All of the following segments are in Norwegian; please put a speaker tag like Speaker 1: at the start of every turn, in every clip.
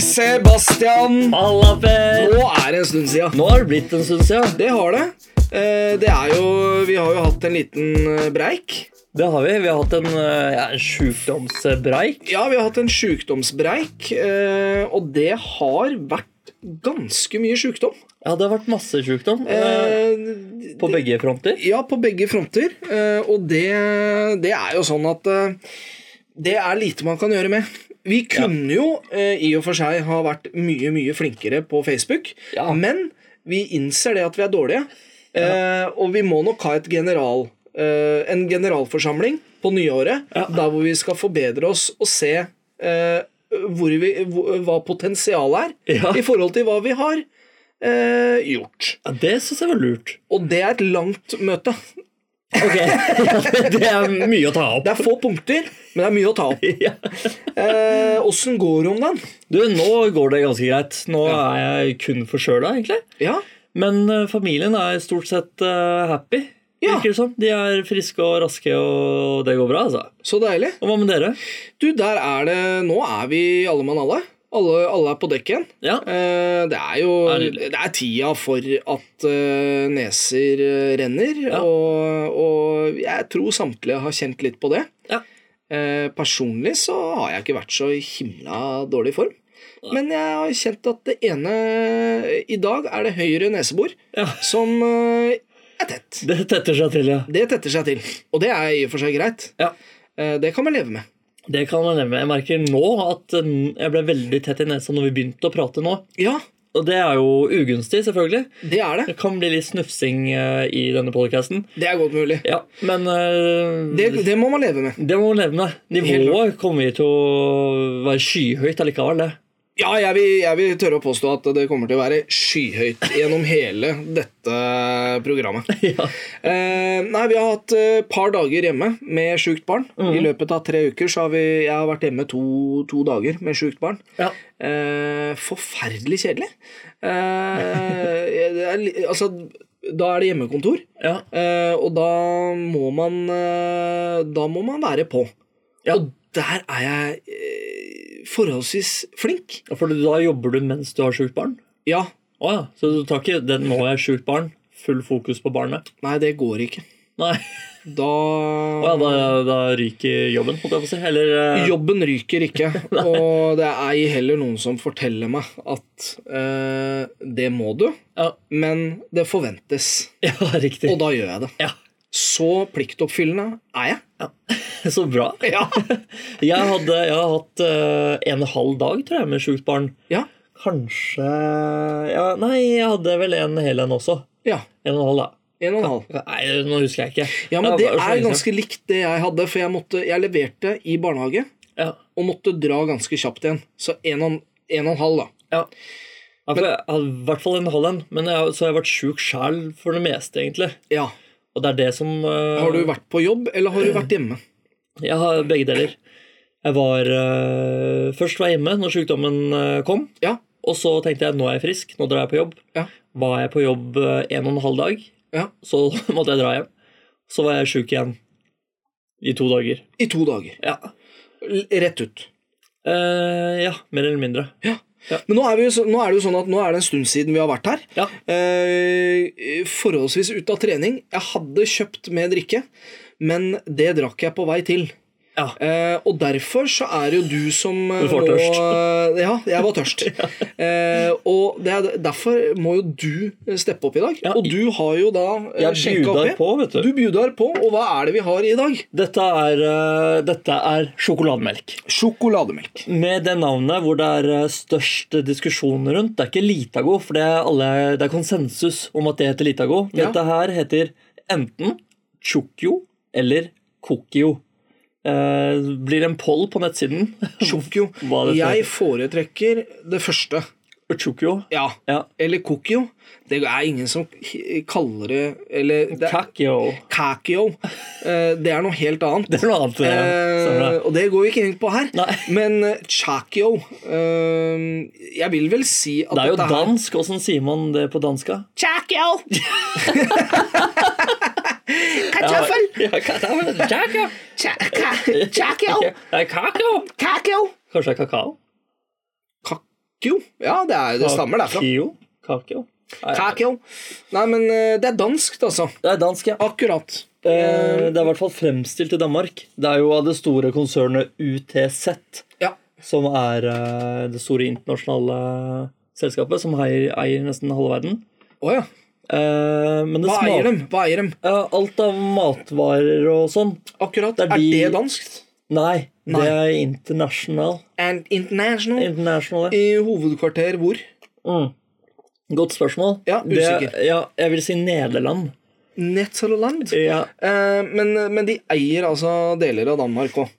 Speaker 1: Sebastian!
Speaker 2: Halla, Per!
Speaker 1: Nå er det en stund sia.
Speaker 2: Nå har det blitt en stund siden.
Speaker 1: Det har det. Eh, Det er jo Vi har jo hatt en liten eh, breik.
Speaker 2: Det har vi. Vi har hatt en, eh, ja, en sjukdomsbreik.
Speaker 1: Ja, vi har hatt en sjukdomsbreik, eh, og det har vært ganske mye sjukdom.
Speaker 2: Ja, det har vært masse sjukdom eh,
Speaker 1: Eh,
Speaker 2: på begge fronter.
Speaker 1: Ja, på begge fronter. Eh, Og det, det er jo sånn at eh, det er lite man kan gjøre med. Vi kunne jo eh, i og for seg ha vært mye, mye flinkere på Facebook,
Speaker 2: Ja.
Speaker 1: men vi innser det at vi er dårlige. Eh, Og vi må nok ha et general, eh, en generalforsamling på nyåret,
Speaker 2: Ja.
Speaker 1: der hvor vi skal forbedre oss og se eh, hvor vi, hvor, hva potensialet er
Speaker 2: Ja.
Speaker 1: i forhold til hva vi har eh, gjort.
Speaker 2: Ja, det syns jeg var lurt.
Speaker 1: Og det er et langt møte.
Speaker 2: Ok, Det er mye å ta opp.
Speaker 1: Det er få punkter, men det er mye å ta opp. Eh,
Speaker 2: Ja.
Speaker 1: Åssen går det om den?
Speaker 2: Du, nå går det ganske greit. Nå er jeg kun forkjøla, egentlig.
Speaker 1: Ja,
Speaker 2: Men eh, familien er stort sett eh, happy.
Speaker 1: Ja.
Speaker 2: Virker det som. De er friske og raske, og det går bra, altså.
Speaker 1: Så deilig.
Speaker 2: Og hva med dere?
Speaker 1: Du, der er det Nå er vi alle mann alle. Alle, alle er på dekk igjen.
Speaker 2: Ja.
Speaker 1: Eh, det er jo
Speaker 2: Herlig.
Speaker 1: Det er tida for at eh, neser eh, renner,
Speaker 2: Ja.
Speaker 1: og, og jeg tror samtlige har kjent litt på det.
Speaker 2: Ja.
Speaker 1: Eh, personlig så har jeg ikke vært så i himla dårlig form. Men jeg har kjent at det ene I dag er det høyre nesebor
Speaker 2: Ja.
Speaker 1: som eh, er tett.
Speaker 2: Det tetter seg til, ja.
Speaker 1: Det tetter seg til, og det er i og for seg greit.
Speaker 2: ja.
Speaker 1: Eh, Det kan man leve med.
Speaker 2: Det kan jeg nevne. Jeg merker nå at eh, jeg ble veldig tett i nesa når vi begynte å prate nå.
Speaker 1: Ja,
Speaker 2: Og det er jo ugunstig, selvfølgelig.
Speaker 1: det er det.
Speaker 2: Det kan bli litt snufsing eh, i denne podcasten.
Speaker 1: Det er godt mulig.
Speaker 2: Ja, men eh,
Speaker 1: Det, det må man leve med.
Speaker 2: det må vi leve med.
Speaker 1: Helt
Speaker 2: Nivået kommer vi til å være skyhøyt allikevel, det.
Speaker 1: Ja, jeg vil, jeg vil tørre å påstå at det kommer til å være skyhøyt gjennom hele dette programmet.
Speaker 2: ja.
Speaker 1: Eh, nei, vi har hatt et par dager hjemme med sjukt barn. I løpet av tre uker så har vi, jeg har vært hjemme to, to dager med sjukt barn.
Speaker 2: Ja.
Speaker 1: Eh, forferdelig kjedelig. Eh, det er, li- altså, da er det hjemmekontor.
Speaker 2: Ja.
Speaker 1: Eh, og da må man eh, Da må man være på.
Speaker 2: Ja.
Speaker 1: Og der er jeg eh, forholdsvis flink.
Speaker 2: For da jobber du mens du har sjukt barn?
Speaker 1: Ja.
Speaker 2: Å ja. Så du tar ikke den 'nå er jeg sjukt barn', full fokus på barnet?
Speaker 1: Nei, det går ikke.
Speaker 2: Nei.
Speaker 1: Da
Speaker 2: Å ja, da, da ryker jobben, holdt jeg på å si. Eller eh,
Speaker 1: Jobben ryker ikke, og det er ei heller noen som forteller meg at eh, det må du,
Speaker 2: ja.
Speaker 1: men det forventes.
Speaker 2: ja, riktig.
Speaker 1: Og da gjør jeg det.
Speaker 2: Ja.
Speaker 1: Så pliktoppfyllende er jeg.
Speaker 2: Så bra.
Speaker 1: Ja.
Speaker 2: Jeg, hadde, jeg har hatt eh, en og en halv dag tror jeg, med sjukt barn.
Speaker 1: Ja.
Speaker 2: Kanskje ja, Nei, jeg hadde vel en hel en også.
Speaker 1: ja.
Speaker 2: En og en halv, da.
Speaker 1: En og en halv.
Speaker 2: Nei, nå husker jeg ikke.
Speaker 1: Ja, men
Speaker 2: Ja,
Speaker 1: det
Speaker 2: bare så
Speaker 1: er
Speaker 2: lenge
Speaker 1: ganske likt det jeg hadde, for jeg, måtte, jeg leverte i barnehage
Speaker 2: siden. Ja,
Speaker 1: og måtte dra ganske kjapt igjen. Så en og en, en, og en halv, da.
Speaker 2: ja. ja for jeg hadde i hvert fall en halv en, men jeg, så har jeg vært sjuk sjæl for det meste, egentlig.
Speaker 1: Ja.
Speaker 2: Og det er det som eh,
Speaker 1: Har du vært på jobb, eller har du vært hjemme?
Speaker 2: Jeg har begge deler. Jeg var eh, Først var jeg hjemme når sykdommen eh, kom,
Speaker 1: Ja.
Speaker 2: og så tenkte jeg nå er jeg frisk, nå drar jeg på jobb.
Speaker 1: Ja.
Speaker 2: Var jeg på jobb eh, en og en halv dag,
Speaker 1: ja.
Speaker 2: Så måtte jeg dra hjem. Så var jeg sjuk igjen i to dager.
Speaker 1: I to dager.
Speaker 2: Ja.
Speaker 1: L- Rett ut.
Speaker 2: Eh, ja, mer eller mindre.
Speaker 1: Ja.
Speaker 2: Ja.
Speaker 1: Men nå er, vi, jo så- nå er det jo sånn at nå er det en stund siden vi har vært her.
Speaker 2: Ja.
Speaker 1: Eh, forholdsvis ute av trening. Jeg hadde kjøpt med drikke, men det drakk jeg på vei til.
Speaker 2: Ja.
Speaker 1: Eh, og derfor så er det jo du som eh,
Speaker 2: Du får
Speaker 1: må-
Speaker 2: tørst.
Speaker 1: eh, ja, jeg var tørst. eh, og det er, derfor må jo du steppe opp i dag.
Speaker 2: Ja,
Speaker 1: og du har jo da eh,
Speaker 2: Jeg
Speaker 1: skjenka
Speaker 2: bjuder
Speaker 1: oppi.
Speaker 2: på, vet du.
Speaker 1: Du bjudar på, og hva er det vi har i dag?
Speaker 2: Dette er, eh, dette er sjokolademelk.
Speaker 1: Sjokolademelk.
Speaker 2: Med det navnet hvor det er eh, størst diskusjon rundt. Det er ikke Litago, for det er, alle, det er konsensus om at det heter Litago.
Speaker 1: Ja.
Speaker 2: Dette her heter enten Chokyo eller Kokio. Eh, blir en poll på nettsiden.
Speaker 1: Sjokio.
Speaker 2: Hva er det for
Speaker 1: Jeg foretrekker det første.
Speaker 2: Chokyo.
Speaker 1: Ja.
Speaker 2: Ja.
Speaker 1: Eller kokio. Det er ingen som k- kaller det Eller det er,
Speaker 2: Kakio.
Speaker 1: kakio. Eh, det er noe helt annet.
Speaker 2: Det er noe annet. eh, Sandra.
Speaker 1: Eh, og det går vi ikke inn på her.
Speaker 2: Nei.
Speaker 1: Men eh, chakio eh, Jeg vil vel si at
Speaker 2: Det er jo
Speaker 1: dette her-
Speaker 2: dansk. Åssen sier man det på danska?
Speaker 1: Chakio!
Speaker 2: Ja,
Speaker 1: Kartoffel!
Speaker 2: ja, kartoffel. Chakio.
Speaker 1: Cha- ka- Chakio!
Speaker 2: Ja, kakao.
Speaker 1: Kakio!
Speaker 2: Kanskje det er kakao?
Speaker 1: Kakio. Ja, det, er, det stammer derfra.
Speaker 2: Kakio? Kakio? Nei,
Speaker 1: Kakio. Nei, men eh, det er danskt, altså.
Speaker 2: Det er dansk, ja.
Speaker 1: Akkurat.
Speaker 2: Eh, Det er i hvert fall fremstilt i Danmark. Det er jo av det store konsernet UTZ,
Speaker 1: Ja.
Speaker 2: som er eh, det store internasjonale eh, selskapet som eier, eier nesten halve verden.
Speaker 1: Å ja.
Speaker 2: Eh, Men det
Speaker 1: Hva eier
Speaker 2: smaker
Speaker 1: dem? Hva eier dem?
Speaker 2: Alt av matvarer og sånn.
Speaker 1: Akkurat.
Speaker 2: Det
Speaker 1: Er,
Speaker 2: er de-
Speaker 1: det danskt?
Speaker 2: Nei,
Speaker 1: Nei.
Speaker 2: det er international.
Speaker 1: And international?
Speaker 2: International, ja.
Speaker 1: I hovedkvarter hvor?
Speaker 2: Mm. Godt spørsmål.
Speaker 1: Ja,
Speaker 2: Det-
Speaker 1: usikker.
Speaker 2: ja, jeg vil si Nederland.
Speaker 1: Netherland.
Speaker 2: Ja,
Speaker 1: Eh, men, men de eier altså deler av Danmark òg.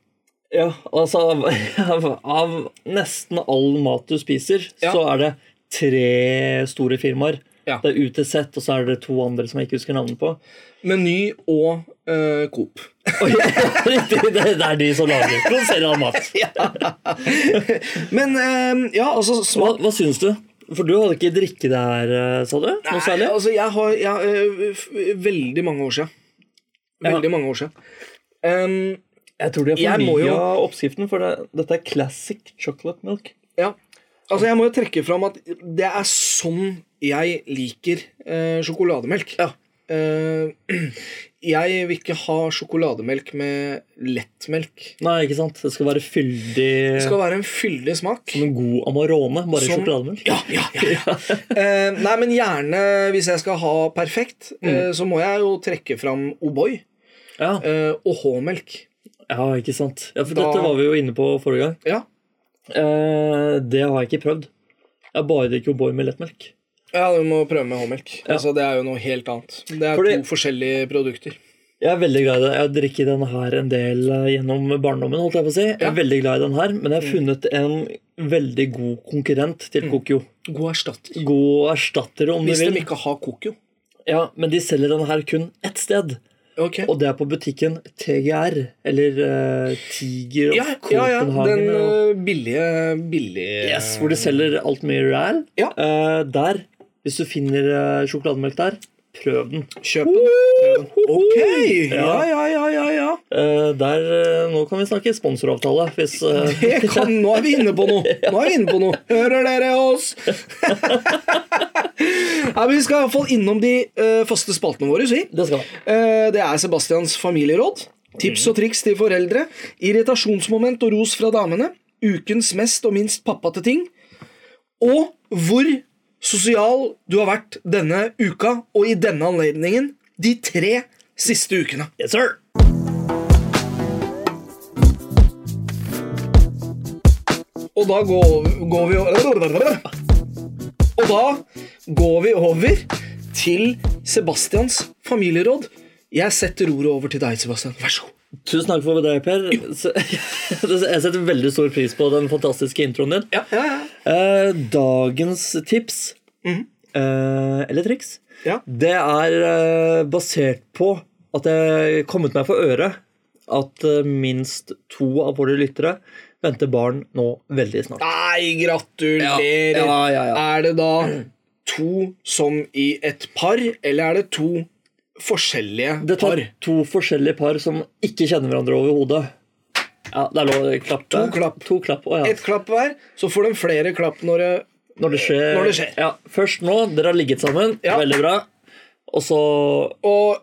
Speaker 2: ja altså av, av, av nesten all mat du spiser,
Speaker 1: Ja.
Speaker 2: så er det tre store firmaer.
Speaker 1: Ja.
Speaker 2: Det er UTZ, og så er det to andre som jeg ikke husker navnet på.
Speaker 1: Meny og eh, Coop.
Speaker 2: Oi, Riktig, det, det er de som lager produserer all mat.
Speaker 1: Men eh, ja, altså smak
Speaker 2: Hva, hva syns du? For du hadde ikke drikke der, eh, sa du? Noe
Speaker 1: Nei,
Speaker 2: særlig?
Speaker 1: altså, jeg har jeg, eh, f- veldig mange år siden. Veldig mange år siden. Em,
Speaker 2: Jeg tror de har
Speaker 1: altså, Jeg må
Speaker 2: fornya
Speaker 1: jo-
Speaker 2: oppskriften, for det, dette er classic chocolate milk.
Speaker 1: ja. Altså, jeg må jo trekke fram at det er sånn jeg liker eh, sjokolademelk. Eh, jeg vil ikke ha sjokolademelk med lettmelk.
Speaker 2: Nei, ikke sant? Det skal være fyldig
Speaker 1: Det skal være en fyldig smak.
Speaker 2: Som en god Amarone, bare
Speaker 1: Som-
Speaker 2: sjokolademelk.
Speaker 1: Ja, ja, ja, ja. Eh, nei, men gjerne hvis jeg skal ha perfekt, eh, så må jeg jo trekke fram O'boy
Speaker 2: Ja.
Speaker 1: eh, og H-melk.
Speaker 2: ja, ikke sant. Ja, for
Speaker 1: Da-
Speaker 2: Dette var vi jo inne på forrige gang.
Speaker 1: Ja.
Speaker 2: Eh, det har jeg ikke prøvd. Jeg bare drikker O'boy med lettmelk.
Speaker 1: ja, du må prøve med H-melk. Altså, det er jo noe helt annet. Det er
Speaker 2: Fordi-
Speaker 1: to forskjellige produkter.
Speaker 2: Jeg er veldig glad i det. Jeg har drikket denne her en del eh, gjennom barndommen. holdt Jeg på å si. Jeg er veldig glad i den her, men
Speaker 1: Mm.
Speaker 2: jeg har funnet en veldig god konkurrent til Kokyo.
Speaker 1: God erstatter.
Speaker 2: God erstatter, om
Speaker 1: Hvis
Speaker 2: du
Speaker 1: de
Speaker 2: vil.
Speaker 1: ikke har Kokio.
Speaker 2: Ja, Men de selger den her kun ett sted,
Speaker 1: Ok.
Speaker 2: og det er på butikken TGR, eller eh, Tiger of
Speaker 1: Ja, ja, ja. Den
Speaker 2: Copenhagen. og-
Speaker 1: eh, billige, billige
Speaker 2: Yes, hvor de selger alt mye ræl.
Speaker 1: Ja.
Speaker 2: Eh, der, hvis du finner eh, sjokolademelk der, prøv den.
Speaker 1: Kjøp den. Ok! Ja,
Speaker 2: Ja.
Speaker 1: ja, ja, ja. ja.
Speaker 2: Eh, der, eh, nå kan vi snakke sponsoravtale, hvis eh,
Speaker 1: Det kan, nå er vi inne på noe! Nå er vi inne på noe. Hører dere oss? Nei, men vi skal iallfall innom de eh, faste spaltene våre. Si.
Speaker 2: Det skal vi.
Speaker 1: Eh, det er Sebastians familieråd. Tips og triks til foreldre. Irritasjonsmoment og ros fra damene. Ukens mest og minst pappate ting. Og hvor sosial du har vært denne uka og i denne anledningen de tre siste ukene.
Speaker 2: Yes, sir!
Speaker 1: Og da går, går vi over Og da går vi over til Sebastians familieråd. Jeg setter ordet over til deg, Sebastian. Vær så god.
Speaker 2: Tusen takk for deg, Per. Så- Jeg setter veldig stor pris på den fantastiske introen din.
Speaker 1: Ja, ja,
Speaker 2: Eh, dagens tips, eh, eller triks,
Speaker 1: Mhm. ja.
Speaker 2: Det er eh, basert på at jeg kommet meg for øre at eh, minst to av våre lyttere venter barn nå veldig snart.
Speaker 1: Nei, gratulerer.
Speaker 2: Ja, ja, ja,
Speaker 1: Er det da to som i et par, eller er det to forskjellige
Speaker 2: Dette
Speaker 1: par?
Speaker 2: er to forskjellige par som ikke kjenner hverandre overhodet. Ja, det er lov å klappe.
Speaker 1: To klapp.
Speaker 2: To klapp, å ja.
Speaker 1: Ett klapp hver, så får de flere klapp når det
Speaker 2: Når det skjer.
Speaker 1: Når det skjer.
Speaker 2: Ja, først nå. Dere har ligget sammen.
Speaker 1: Ja.
Speaker 2: Veldig bra. Og så
Speaker 1: Og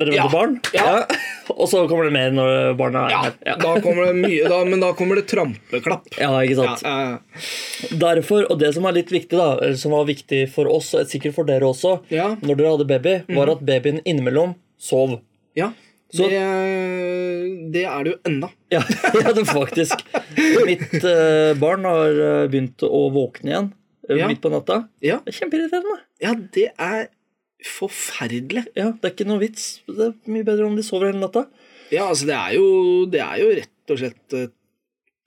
Speaker 2: Dere venter
Speaker 1: Ja.
Speaker 2: barn.
Speaker 1: Ja.
Speaker 2: Og så kommer det mer når barna er
Speaker 1: ja,
Speaker 2: her. Ja.
Speaker 1: da kommer det mye, da, men da kommer det trampeklapp.
Speaker 2: ja, ikke sant.
Speaker 1: Ja,
Speaker 2: Derfor, og det som er litt viktig da, eller som var viktig for oss, og sikkert for dere også,
Speaker 1: Ja. Mhm.
Speaker 2: når dere hadde baby, var at babyen innimellom sov.
Speaker 1: ja.
Speaker 2: Så-
Speaker 1: det, det er det jo enda.
Speaker 2: Ja, ja det faktisk. Mitt eh, barn har eh, begynt å våkne igjen eh,
Speaker 1: Ja.
Speaker 2: midt på natta.
Speaker 1: Ja,
Speaker 2: Det er kjempeirriterende.
Speaker 1: ja det er forferdelig.
Speaker 2: Ja, det er ikke noe vits. Det er mye bedre om de sover hele natta.
Speaker 1: Ja, altså, det er jo, det er jo rett og slett eh,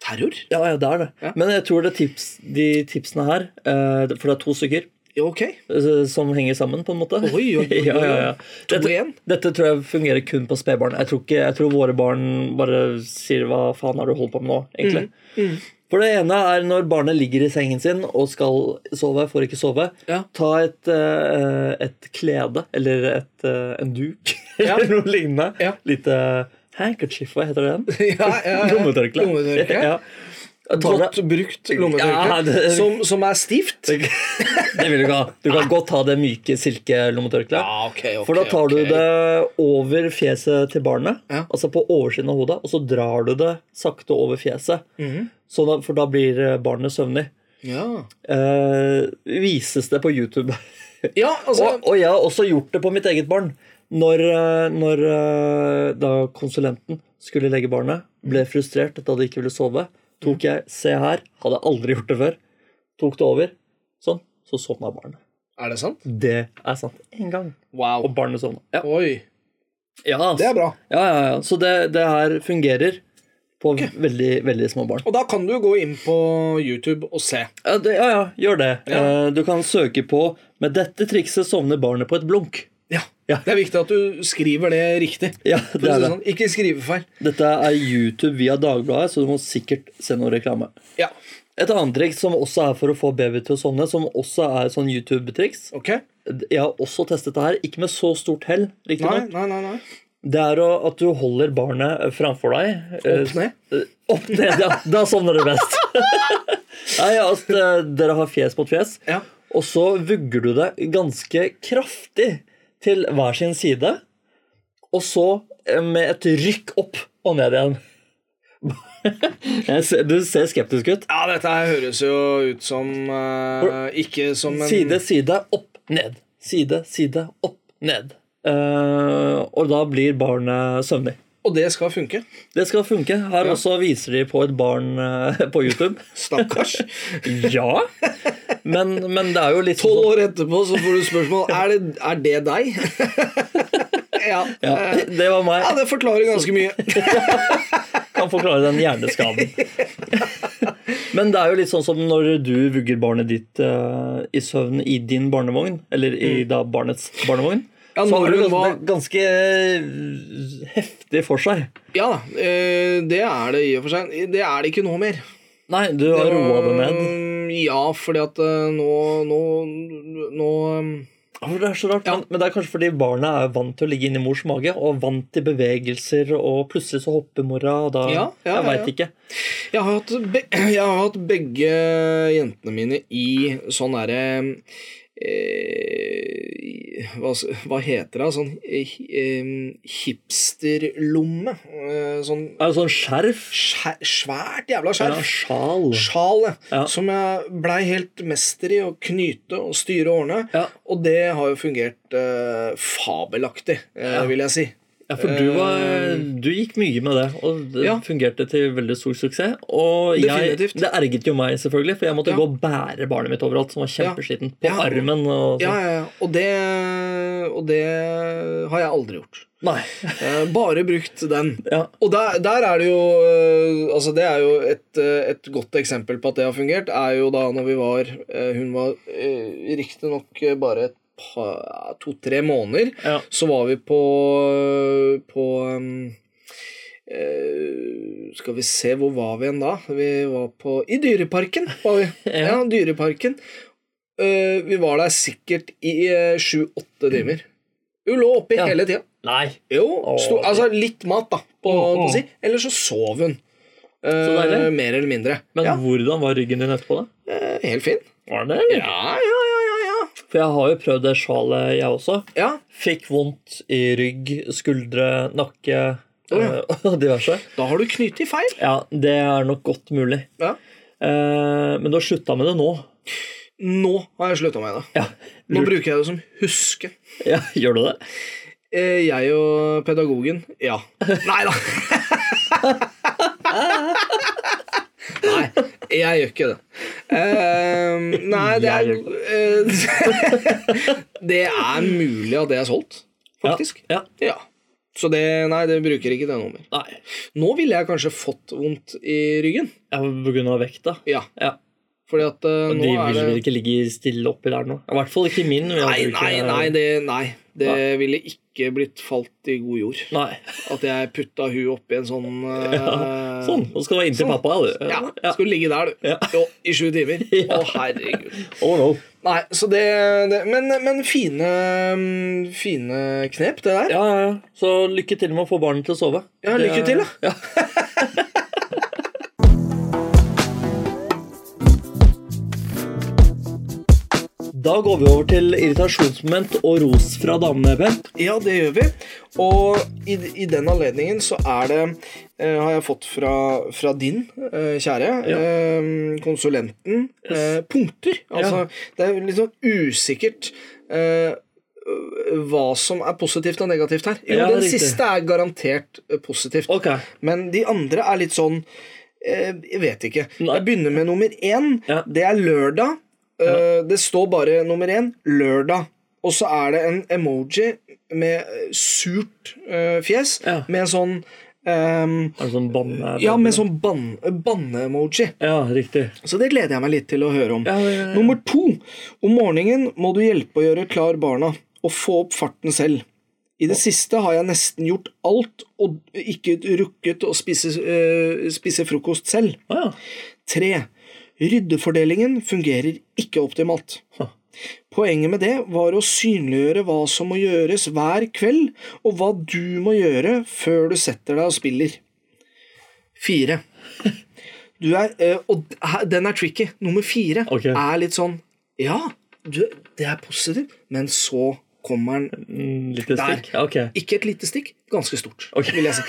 Speaker 1: terror.
Speaker 2: Ja, ja, det er det.
Speaker 1: Ja.
Speaker 2: Men jeg tror det er tips, de tipsene her, eh, for det er to stykker,
Speaker 1: Ja, ok.
Speaker 2: eh, som henger sammen, på en måte.
Speaker 1: Oi, oi, oi, oi.
Speaker 2: ja, ja, ja.
Speaker 1: To
Speaker 2: Dette-
Speaker 1: igjen.
Speaker 2: Dette tror jeg fungerer kun på spedbarn. Jeg tror, ikke, jeg tror våre barn bare sier 'hva faen har du holdt på med nå'? egentlig.
Speaker 1: Mm,
Speaker 2: For det ene er når barnet ligger i sengen sin og skal sove, får ikke sove.
Speaker 1: Ja.
Speaker 2: Ta et, eh, et klede eller et, eh, en duk
Speaker 1: Ja.
Speaker 2: eller noe lignende.
Speaker 1: Ja.
Speaker 2: Lite handkerchief, hva heter det?
Speaker 1: Ja, ja, ja.
Speaker 2: Lommetørkle.
Speaker 1: Lommetørkle.
Speaker 2: ja. Tar
Speaker 1: Godt
Speaker 2: det-
Speaker 1: brukt
Speaker 2: Ja,
Speaker 1: lommetørkle
Speaker 2: det-
Speaker 1: som, som er stivt.
Speaker 2: Det vil du ikke ha. Du kan godt ha det myke silkelommetørkleet.
Speaker 1: Ja, ok, ok,
Speaker 2: For da tar
Speaker 1: ok.
Speaker 2: du det over fjeset til barnet,
Speaker 1: Ja.
Speaker 2: altså på oversiden av hodet, og så drar du det sakte over fjeset.
Speaker 1: Mhm.
Speaker 2: Så da, for da blir barnet søvnig.
Speaker 1: Ja,
Speaker 2: Eh, vises det på YouTube.
Speaker 1: ja altså
Speaker 2: og, og jeg har også gjort det på mitt eget barn. Når, eh, når eh, da konsulenten skulle legge barnet, ble frustrert da det ikke ville sove, tok jeg 'se her', hadde aldri gjort det før, tok det over, sånn, så sovna barnet.
Speaker 1: Er det sant?
Speaker 2: Det er sant. Én gang.
Speaker 1: Wow.
Speaker 2: Og barnet sovna. Ja.
Speaker 1: Oi.
Speaker 2: Ja, ass.
Speaker 1: Det er bra.
Speaker 2: ja, ja, ja. Så det, det her fungerer på veldig, veldig små barn.
Speaker 1: Og da kan du jo gå inn på YouTube og se.
Speaker 2: Ja, det, ja, ja gjør det.
Speaker 1: Ja.
Speaker 2: Eh, Du kan søke på 'med dette trikset sovner barnet på et blunk'.
Speaker 1: Ja.
Speaker 2: Ja.
Speaker 1: Det er viktig at du skriver det riktig.
Speaker 2: Ja,
Speaker 1: For
Speaker 2: det
Speaker 1: å si
Speaker 2: er det.
Speaker 1: Sånn. Ikke skrivefeil.
Speaker 2: Dette er YouTube via Dagbladet, så du må sikkert se noe reklame.
Speaker 1: Ja.
Speaker 2: Et annet triks som også er for å få baby til å sovne, som også er sånn YouTube-triks
Speaker 1: Ok?
Speaker 2: Jeg har også testet det her, ikke med så stort hell,
Speaker 1: Nei,
Speaker 2: riktignok.
Speaker 1: nei, nei. nei.
Speaker 2: Det er å, at du holder barnet framfor deg. eh,
Speaker 1: Opp ned.
Speaker 2: Eh, Opp ned, ja. Da sovner det best. Nei, ja, altså, dere har fjes mot fjes,
Speaker 1: Ja.
Speaker 2: og så vugger du det ganske kraftig til hver sin side, og så eh, med et rykk opp og ned igjen. Jeg ser, du ser skeptisk ut.
Speaker 1: Ja, dette her høres jo ut som eh, Ikke som en
Speaker 2: Side, side, opp, ned. Side, side, opp, ned. Eh, og da blir barnet søvnig.
Speaker 1: Og det skal funke.
Speaker 2: Det skal funke. Her også viser de på et barn eh, på YouTube.
Speaker 1: Stakkars.
Speaker 2: Ja, men, men det er jo litt sånn-
Speaker 1: Tolv år etterpå så får du spørsmål Er det, er det deg. ja.
Speaker 2: ja, Det var meg.
Speaker 1: ja, det forklarer ganske mye.
Speaker 2: Kan forklare den hjerneskaden. Men det er jo litt sånn som når du vugger barnet ditt eh, i søvn i din barnevogn, eller i da barnets barnevogn,
Speaker 1: Mm. Ja,
Speaker 2: så
Speaker 1: når
Speaker 2: har du
Speaker 1: hun
Speaker 2: ganske,
Speaker 1: var-
Speaker 2: ganske eh, heftig for seg.
Speaker 1: Ja da. eh, det er det i og for seg. Det er det ikke nå mer.
Speaker 2: Nei, du har roa det ned.
Speaker 1: Mm, Ja, fordi at eh, nå Nå, nå um,
Speaker 2: Ja, for Det er så rart, men, men det er kanskje fordi barna er vant til å ligge inni mors mage, og vant til bevegelser, og plutselig så hopper mora, og da
Speaker 1: Ja, ja,
Speaker 2: Jeg
Speaker 1: ja,
Speaker 2: veit ikke.
Speaker 1: Jeg har, hatt be jeg har hatt begge jentene mine i sånn derre eh, hva, s- hva heter det? Sånn eh, eh, hipsterlomme. Eh, sånn
Speaker 2: Det er jo sånn skjerf.
Speaker 1: skjær, svært jævla
Speaker 2: Ja,
Speaker 1: skjerf.
Speaker 2: sjal.
Speaker 1: Sjal, ja.
Speaker 2: Ja.
Speaker 1: Som jeg blei helt mester i å knyte og styre og ordne.
Speaker 2: Ja.
Speaker 1: Og det har jo fungert eh, fabelaktig, eh, vil jeg si.
Speaker 2: Ja, for du, var, du gikk mye med det, og det
Speaker 1: Ehm. Ja.
Speaker 2: fungerte til veldig stor suksess. Og jeg,
Speaker 1: Definitivt.
Speaker 2: det erget jo meg, selvfølgelig, for jeg måtte
Speaker 1: Ja.
Speaker 2: gå og bære barnet mitt overalt, som var kjempesliten. På
Speaker 1: Ja.
Speaker 2: armen og
Speaker 1: Ja,
Speaker 2: sånn.
Speaker 1: ja, ja. Og det, og det har jeg aldri gjort.
Speaker 2: Nei.
Speaker 1: Eh, Bare brukt den.
Speaker 2: Ja.
Speaker 1: Og der, der er det jo eh, Altså, det er jo et, eh, et godt eksempel på at det har fungert, er jo da når vi var eh, Hun var eh, riktignok bare et par to-tre måneder.
Speaker 2: Ja.
Speaker 1: Så var vi på På um, eh, Skal vi se, hvor var vi igjen da? Vi var på I Dyreparken var vi.
Speaker 2: Ja.
Speaker 1: ja, Dyreparken. Eh, vi var der sikkert i eh, sju-åtte timer. Hun lå oppi
Speaker 2: Ja.
Speaker 1: hele tida.
Speaker 2: Nei.
Speaker 1: Jo,
Speaker 2: Åh.
Speaker 1: sto, altså litt mat, da, på,
Speaker 2: Åh,
Speaker 1: på
Speaker 2: åh.
Speaker 1: si. Eller så sov hun. Eh,
Speaker 2: Så deilig.
Speaker 1: mer eller mindre.
Speaker 2: Men
Speaker 1: ja,
Speaker 2: hvordan var ryggen din etterpå, da?
Speaker 1: eh, helt fin.
Speaker 2: Var den det, eller?
Speaker 1: Ja, ja, ja, ja, ja.
Speaker 2: For jeg har jo prøvd det sjalet, jeg også.
Speaker 1: Ja,
Speaker 2: Fikk vondt i rygg, skuldre, nakke
Speaker 1: Å, ja.
Speaker 2: eh, og diverse.
Speaker 1: Da har du knyttet feil.
Speaker 2: Ja, det er nok godt mulig.
Speaker 1: Ja.
Speaker 2: Eh, men du har slutta med det nå.
Speaker 1: Nå har jeg slutta med det.
Speaker 2: Ja.
Speaker 1: Nå
Speaker 2: Lurt.
Speaker 1: bruker jeg det som huske.
Speaker 2: ja, gjør du det?
Speaker 1: Eh, jeg og pedagogen Ja. Nei da. nei, jeg gjør ikke det. Eh, nei, det
Speaker 2: Jeg
Speaker 1: er eh, Det er mulig at det er solgt, faktisk.
Speaker 2: Ja. ja.
Speaker 1: Ja. Så det, nei, det bruker ikke det noe mer.
Speaker 2: Nei.
Speaker 1: Nå ville jeg kanskje fått vondt i ryggen.
Speaker 2: Ja, på grunn av vekta.
Speaker 1: Ja,
Speaker 2: Ja.
Speaker 1: fordi at eh,
Speaker 2: De
Speaker 1: nå
Speaker 2: vil
Speaker 1: er det
Speaker 2: vel ikke ligge stille oppi der nå? I hvert fall ikke min. vi
Speaker 1: Nei,
Speaker 2: hadde jo
Speaker 1: nei,
Speaker 2: ikke-
Speaker 1: nei. Det, nei. det
Speaker 2: Nei.
Speaker 1: ville ikke blitt falt i god jord.
Speaker 2: Nei.
Speaker 1: At jeg putta hun oppi en sånn eh,
Speaker 2: Sånn. Nå skal du være inntil
Speaker 1: Sånn.
Speaker 2: pappa, du.
Speaker 1: Ja, skulle ligge der, du.
Speaker 2: Ja.
Speaker 1: Jo, I sju timer.
Speaker 2: Ja.
Speaker 1: Å, herregud.
Speaker 2: Oh, no.
Speaker 1: Nei, så det, det Men, men fine, mm, fine knep, det der.
Speaker 2: ja, ja, ja. Så lykke til med å få barnet til å sove.
Speaker 1: Ja, lykke til, da.
Speaker 2: Ja. Da går vi over til irritasjonsmoment og ros fra damene, Bent.
Speaker 1: Ja, det gjør vi. Og i, i den anledningen så er det eh, Har jeg fått fra, fra din eh, kjære
Speaker 2: Ja.
Speaker 1: eh, konsulenten eh, punkter. Altså, det er litt sånn usikkert eh, hva som er positivt og negativt her. Jo,
Speaker 2: Ja,
Speaker 1: den
Speaker 2: riktig.
Speaker 1: siste er garantert eh, positivt.
Speaker 2: Ok.
Speaker 1: Men de andre er litt sånn eh, Jeg vet ikke.
Speaker 2: Nei.
Speaker 1: Jeg begynner med nummer én.
Speaker 2: Ja.
Speaker 1: Det er lørdag. Eh, Det står bare nummer én lørdag. Og så er det en emoji med eh, surt eh, fjes
Speaker 2: Ja.
Speaker 1: med sånn ehm,
Speaker 2: Er det sånn banne?
Speaker 1: ja, med sånn ban banne-emoji.
Speaker 2: Ja, riktig.
Speaker 1: Så det gleder jeg meg litt til å høre om.
Speaker 2: Ja, ja, ja.
Speaker 1: Nummer to. Om morgenen må du hjelpe å gjøre klar barna, og få opp farten selv. I det siste har jeg nesten gjort alt, og ikke rukket å spise, eh, spise frokost selv.
Speaker 2: Å ja.
Speaker 1: Tre. Ryddefordelingen fungerer ikke optimalt.
Speaker 2: Huh.
Speaker 1: Poenget med det var å synliggjøre hva som må gjøres hver kveld, og hva du må gjøre før du setter deg og spiller. Fire. Du er, eh, og d- her- den er tricky. Nummer fire
Speaker 2: Ok.
Speaker 1: er litt sånn Ja, du, det er positivt, men så kommer den
Speaker 2: Mm, Litt stikk? Ja, Ok.
Speaker 1: ikke et lite stikk, ganske stort.
Speaker 2: Ok.
Speaker 1: Vil jeg si.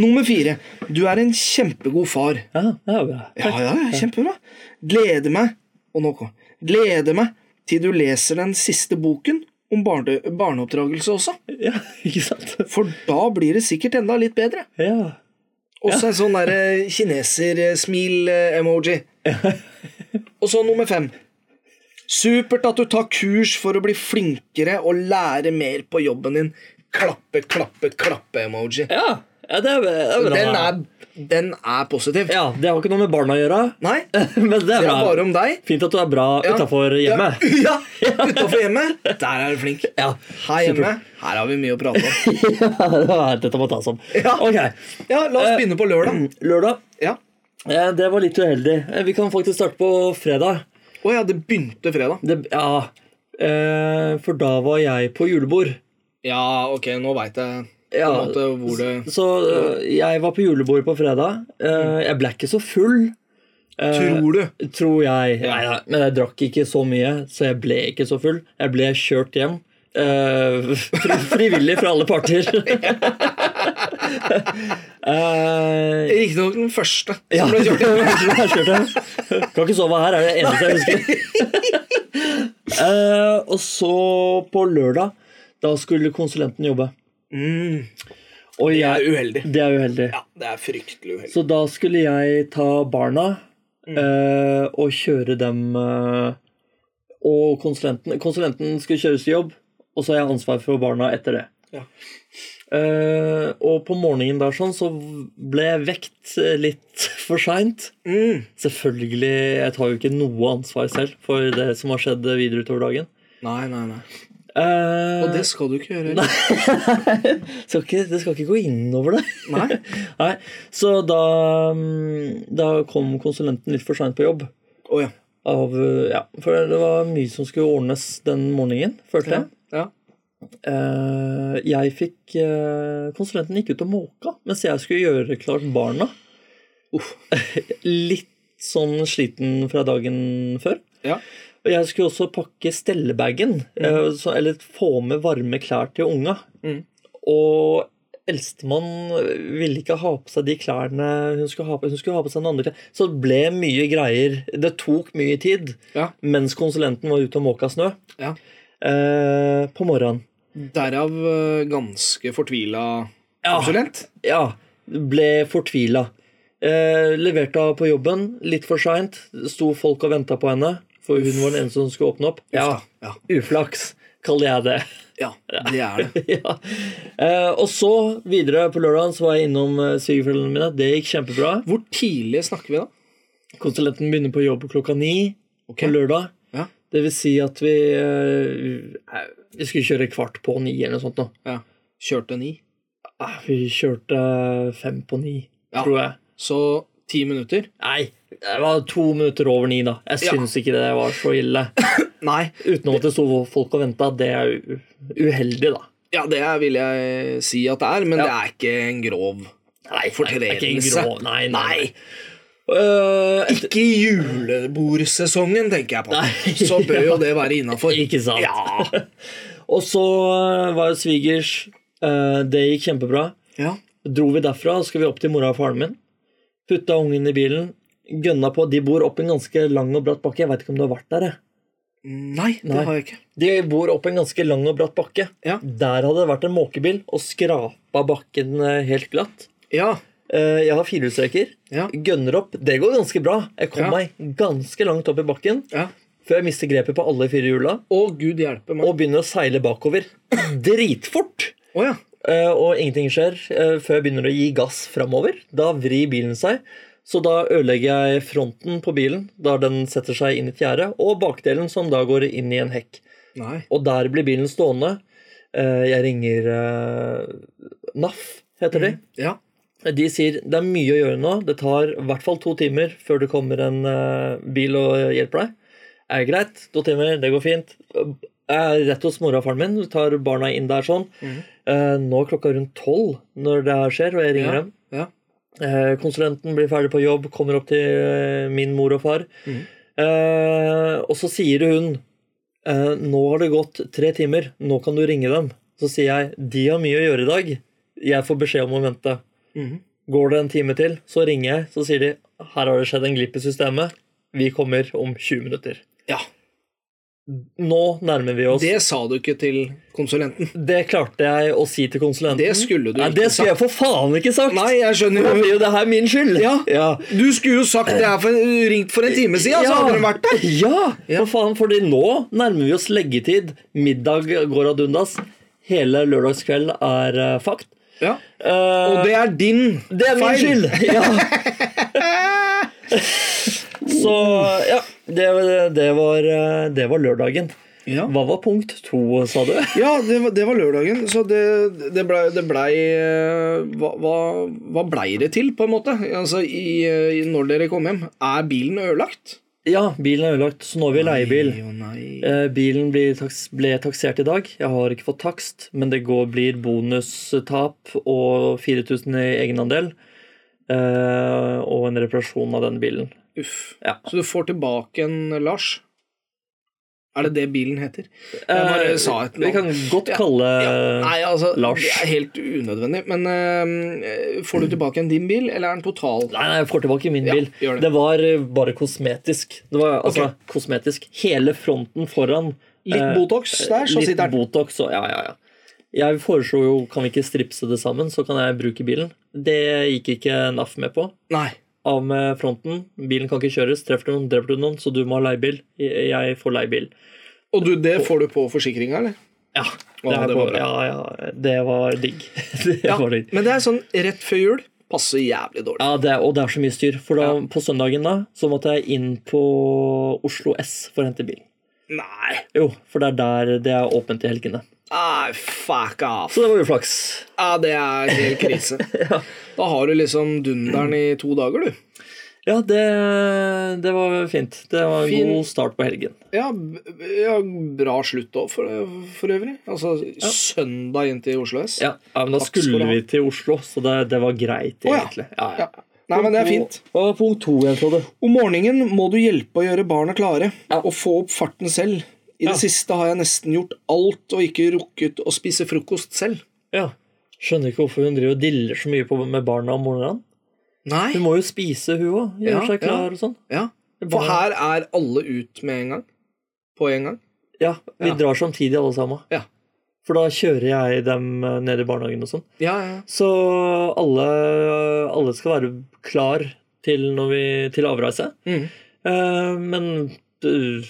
Speaker 1: Nummer fire. Du er en kjempegod far.
Speaker 2: Ja, det er bra.
Speaker 1: Ja, ja, ja, kjempebra. Gleder meg Og nå kom Gleder meg til du leser den siste boken om barne, barneoppdragelse også.
Speaker 2: Ja, ikke sant?
Speaker 1: For da blir det sikkert enda litt bedre.
Speaker 2: Ja.
Speaker 1: Også en sånn derre kineser-smil-emoji. Og så nummer fem. Supert at du tar kurs for å bli flinkere og lære mer på jobben din. Klappe, klappe, klappe-emoji.
Speaker 2: Ja, ja det, er, det er bra.
Speaker 1: Den, er- den er positiv.
Speaker 2: Ja, Det har ikke noe med barna å gjøre,
Speaker 1: Nei, det
Speaker 2: men det er
Speaker 1: er
Speaker 2: bra.
Speaker 1: bare om deg.
Speaker 2: Fint at du er bra
Speaker 1: Ja.
Speaker 2: utafor hjemmet.
Speaker 1: Ja, ja utafor hjemmet. Der er du flink.
Speaker 2: Ja.
Speaker 1: Her hjemme her har vi mye å prate om.
Speaker 2: Dette må tas om.
Speaker 1: Ja.
Speaker 2: Ok.
Speaker 1: Ja, La oss begynne på lørdag.
Speaker 2: mm. Lørdag.
Speaker 1: Ja.
Speaker 2: Eh, Det var litt uheldig. Eh, Vi kan faktisk starte på fredag.
Speaker 1: Å ja, det begynte fredag.
Speaker 2: Det, ja, eh, for da var jeg på julebord.
Speaker 1: Ja, ok, nå veit jeg på
Speaker 2: Ja,
Speaker 1: en måte hvor det
Speaker 2: Så eh, jeg var på julebord på fredag. Eh, jeg ble ikke så full,
Speaker 1: Tror du?
Speaker 2: tror jeg. Nei, nei, men jeg drakk ikke så mye, så jeg ble ikke så full. Jeg ble kjørt hjem. eh, fri, frivillig fra alle parter. Eh,
Speaker 1: Riktignok den første
Speaker 2: ja.
Speaker 1: som ble kjørt.
Speaker 2: Jeg kjørte. Kan ikke sove her, er det eneste jeg husker. Eh, og så på lørdag, da skulle konsulenten jobbe.
Speaker 1: Mm,
Speaker 2: Og
Speaker 1: det
Speaker 2: jeg,
Speaker 1: er uheldig.
Speaker 2: det er uheldig.
Speaker 1: Ja, det er fryktelig uheldig.
Speaker 2: Så da skulle jeg ta barna
Speaker 1: Mm.
Speaker 2: eh, og kjøre dem eh, Og konsulenten, konsulenten skulle kjøres til jobb, og så har jeg ansvar for barna etter det.
Speaker 1: Ja.
Speaker 2: Eh, og på morgenen der sånn, så ble jeg vekt eh, litt for seint.
Speaker 1: Mm.
Speaker 2: Selvfølgelig, jeg tar jo ikke noe ansvar selv for det som har skjedd videre utover dagen.
Speaker 1: Nei, nei, nei.
Speaker 2: Eh,
Speaker 1: Og det skal du ikke gjøre. Nei.
Speaker 2: skal ikke, det skal ikke gå innover det. Nei, Så da, mm, da kom konsulenten litt for seint på jobb.
Speaker 1: Å ja.
Speaker 2: Av, eh, ja, for det var mye som skulle ordnes den morgenen, følte
Speaker 1: ja.
Speaker 2: jeg.
Speaker 1: ja.
Speaker 2: Eh, jeg fikk eh, Konsulenten gikk ut og måka mens jeg skulle gjøre klart barna.
Speaker 1: Uff.
Speaker 2: Litt sånn sliten fra dagen før.
Speaker 1: Ja.
Speaker 2: Og jeg skulle også pakke stellebagen, eh, så- eller få med varme klær til unga.
Speaker 1: Mm.
Speaker 2: Og eldstemann ville ikke ha på seg de klærne hun skulle ha på, hun skulle ha på seg den andre. klær. Så det ble mye greier. Det tok mye tid
Speaker 1: ja.
Speaker 2: mens konsulenten var ute og måka snø.
Speaker 1: Ja.
Speaker 2: Eh, på morgenen.
Speaker 1: Derav eh, ganske fortvila
Speaker 2: Ja.
Speaker 1: konsulent.
Speaker 2: Ja, ble fortvila. Eh, leverte henne på jobben litt for seint. Sto folk og venta på henne, for hun var den eneste som skulle åpne opp. Ja,
Speaker 1: ja.
Speaker 2: Uflaks, kaller jeg det.
Speaker 1: Ja, det er det.
Speaker 2: ja. eh, og så videre på lørdagen så var jeg innom eh, svigerforeldrene mine. Det gikk kjempebra.
Speaker 1: Hvor tidlig snakker vi da?
Speaker 2: Konsulenten begynner på jobb klokka ni
Speaker 1: Ok.
Speaker 2: på lørdag.
Speaker 1: Ja.
Speaker 2: Det vil si at vi eh, Vi skulle kjøre kvart på ni eller noe sånt. Nå.
Speaker 1: Ja. Kjørte ni.
Speaker 2: Ah, Vi kjørte fem på ni,
Speaker 1: Ja.
Speaker 2: tror jeg.
Speaker 1: Så ti minutter?
Speaker 2: Nei, det var to minutter over ni, da. Jeg
Speaker 1: Ja.
Speaker 2: syns ikke det var så ille.
Speaker 1: Nei.
Speaker 2: Utenom at det sto folk og venta. Det er u- uheldig, da.
Speaker 1: Ja, det er- vil jeg si at det er, men
Speaker 2: Ja.
Speaker 1: det er ikke en grov
Speaker 2: Nei,
Speaker 1: fortredelse.
Speaker 2: Nei, ikke en grov, nei, nei. nei. Eh, etter,
Speaker 1: Ikke i julebordsesongen, tenker jeg på.
Speaker 2: Nei.
Speaker 1: Så bør jo det være innafor.
Speaker 2: ikke sant? og så eh, var jo svigers. eh, det gikk kjempebra.
Speaker 1: Ja.
Speaker 2: Dro vi derfra, så skulle vi opp til mora og faren min. Putta ungen i bilen. Gønna på. De bor opp en ganske lang og bratt bakke. Jeg veit ikke om du har vært der? jeg.
Speaker 1: Nei, det
Speaker 2: Nei.
Speaker 1: har jeg ikke.
Speaker 2: De bor opp en ganske lang og bratt bakke.
Speaker 1: Ja.
Speaker 2: Der hadde det vært en måkebil og skrapa bakken eh, helt glatt.
Speaker 1: Ja.
Speaker 2: Eh, Jeg har firehjulstreker.
Speaker 1: Ja.
Speaker 2: Gønner opp. Det går ganske bra. Jeg kom
Speaker 1: Ja.
Speaker 2: meg ganske langt opp i bakken
Speaker 1: ja.
Speaker 2: før jeg mister grepet på alle fire hjula
Speaker 1: Å, gud hjelpe meg.
Speaker 2: og begynner å seile bakover dritfort.
Speaker 1: Å ja.
Speaker 2: Eh, Og ingenting skjer eh, før jeg begynner å gi gass framover. Da vrir bilen seg. Så da ødelegger jeg fronten på bilen, da den setter seg inn i et gjerde, og bakdelen, som da går inn i en hekk.
Speaker 1: Nei.
Speaker 2: Og der blir bilen stående. Eh, Jeg ringer eh, NAF, heter de.
Speaker 1: Ja.
Speaker 2: De sier det er mye å gjøre nå. Det tar i hvert fall to timer før det kommer en eh, bil og hjelper deg. Er det greit? To timer, det går fint. Eh, Jeg er rett hos mora og faren min, vi tar barna inn der sånn. Eh, Nå er klokka rundt tolv når det her skjer, og jeg ringer
Speaker 1: Ja.
Speaker 2: dem.
Speaker 1: ja.
Speaker 2: Eh, Konsulenten blir ferdig på jobb, kommer opp til eh, min mor og far.
Speaker 1: Mm.
Speaker 2: Eh, og så sier hun eh, Nå har det gått tre timer, nå kan du ringe dem. Så sier jeg de har mye å gjøre i dag. Jeg får beskjed om å vente.
Speaker 1: Mhm.
Speaker 2: Går det en time til, så ringer jeg, så sier de her har det skjedd en glipp i systemet. Vi kommer om 20 minutter.
Speaker 1: ja.
Speaker 2: Nå nærmer vi oss.
Speaker 1: Det sa du ikke til konsulenten.
Speaker 2: Det klarte jeg å si til konsulenten.
Speaker 1: Det skulle du
Speaker 2: Nei,
Speaker 1: ikke
Speaker 2: det skulle jeg for faen ikke sagt!
Speaker 1: Nei, jeg skjønner
Speaker 2: Det
Speaker 1: jo.
Speaker 2: blir jo det her min skyld.
Speaker 1: Ja.
Speaker 2: ja.
Speaker 1: Du skulle jo sagt det her for, ringt for en time siden, så hadde de vært der.
Speaker 2: Ja, for faen, fordi nå nærmer vi oss leggetid. Middag går ad undas. Hele lørdagskveld er eh, fakt.
Speaker 1: Ja.
Speaker 2: Eh,
Speaker 1: Og det er din
Speaker 2: det er min
Speaker 1: feil.
Speaker 2: skyld! Ja. Så ja, det, det, var, eh, det var lørdagen.
Speaker 1: Ja.
Speaker 2: Hva var punkt to, sa du?
Speaker 1: Ja, det var, det var lørdagen, så det, det blei det ble, eh, hva, hva, hva blei det til, på en måte? Altså, i, eh, i- Når dere kom hjem, er bilen ødelagt?
Speaker 2: Ja, bilen er ødelagt, så nå har vi leiebil.
Speaker 1: Nei og nei.
Speaker 2: Eh, Bilen blir taks ble taksert i dag. Jeg har ikke fått takst, men det går, blir bonustap og 4000 i egenandel. eh, og en reparasjon av den bilen.
Speaker 1: Uff.
Speaker 2: Ja.
Speaker 1: Så du får tilbake en eh, Lars? Er det det bilen heter? Jeg bare
Speaker 2: Eh,
Speaker 1: sa et
Speaker 2: vi
Speaker 1: navn.
Speaker 2: kan godt kalle
Speaker 1: Nei, altså,
Speaker 2: Lars.
Speaker 1: det er helt unødvendig. Men eh, får du tilbake en din bil, eller er den total?
Speaker 2: Nei, nei, jeg får tilbake min
Speaker 1: Ja,
Speaker 2: bil.
Speaker 1: gjør det.
Speaker 2: det. var eh, bare kosmetisk. Det var altså kosmetisk. Hele fronten foran.
Speaker 1: Litt
Speaker 2: eh,
Speaker 1: Botox der, så
Speaker 2: litt
Speaker 1: sitter den.
Speaker 2: Botox og, ja, ja, ja. Jeg foreslo jo kan vi ikke stripse det sammen, så kan jeg bruke bilen. Det gikk ikke NAF med på.
Speaker 1: Nei.
Speaker 2: Av med fronten. Bilen kan ikke kjøres. Treffer du noen, dreper du noen, så du må ha leiebil. Jeg- Jeg får leiebil.
Speaker 1: Og du, det får du på forsikringa, eller?
Speaker 2: Ja, det,
Speaker 1: Å,
Speaker 2: er
Speaker 1: det var
Speaker 2: på-
Speaker 1: bra.
Speaker 2: ja, ja, det var digg. det
Speaker 1: Ja,
Speaker 2: var digg.
Speaker 1: men det er sånn rett før jul passer jævlig dårlig.
Speaker 2: Ja, det er, og det er så mye styr. For da, på søndagen da, så måtte jeg inn på Oslo S for å hente bilen.
Speaker 1: Nei,
Speaker 2: Jo, for det er der det er åpent i helgene.
Speaker 1: Nei, fuck off.
Speaker 2: Så det var uflaks.
Speaker 1: Ja, det er helt krise. Da har du liksom dunderen i to dager, du.
Speaker 2: Ja, det, det var fint. Det var en
Speaker 1: Fin-
Speaker 2: god start på helgen.
Speaker 1: Ja, b- ja bra slutt òg, for, for øvrig. Altså søndag inn til Oslo S.
Speaker 2: Ja, ja men da
Speaker 1: Takk skal du
Speaker 2: skulle
Speaker 1: ha.
Speaker 2: vi til Oslo, så det, det var greit,
Speaker 1: ja.
Speaker 2: egentlig.
Speaker 1: Ja. Nei, men det er fint.
Speaker 2: Hva var punkt to igjen, Frode?
Speaker 1: Om morgenen må du hjelpe å gjøre barna klare
Speaker 2: Ja.
Speaker 1: og få opp farten selv. I
Speaker 2: Ja.
Speaker 1: det siste har jeg nesten gjort alt og ikke rukket å spise frokost selv.
Speaker 2: Ja. Skjønner ikke hvorfor hun driver og diller så mye på, med barna om morgenen.
Speaker 1: Nei.
Speaker 2: Hun må jo spise, hun òg. Gjøre
Speaker 1: Ja,
Speaker 2: seg klar
Speaker 1: ja.
Speaker 2: og sånn.
Speaker 1: Ja. For her er alle ut med en gang. På en gang.
Speaker 2: Ja, Vi
Speaker 1: Ja.
Speaker 2: drar samtidig, alle sammen.
Speaker 1: Ja.
Speaker 2: For da kjører jeg dem eh, ned i barnehagen og sånn.
Speaker 1: Ja, ja.
Speaker 2: Så alle, alle skal være klar til, når vi, til avreise.
Speaker 1: Mhm.
Speaker 2: Eh, men øh,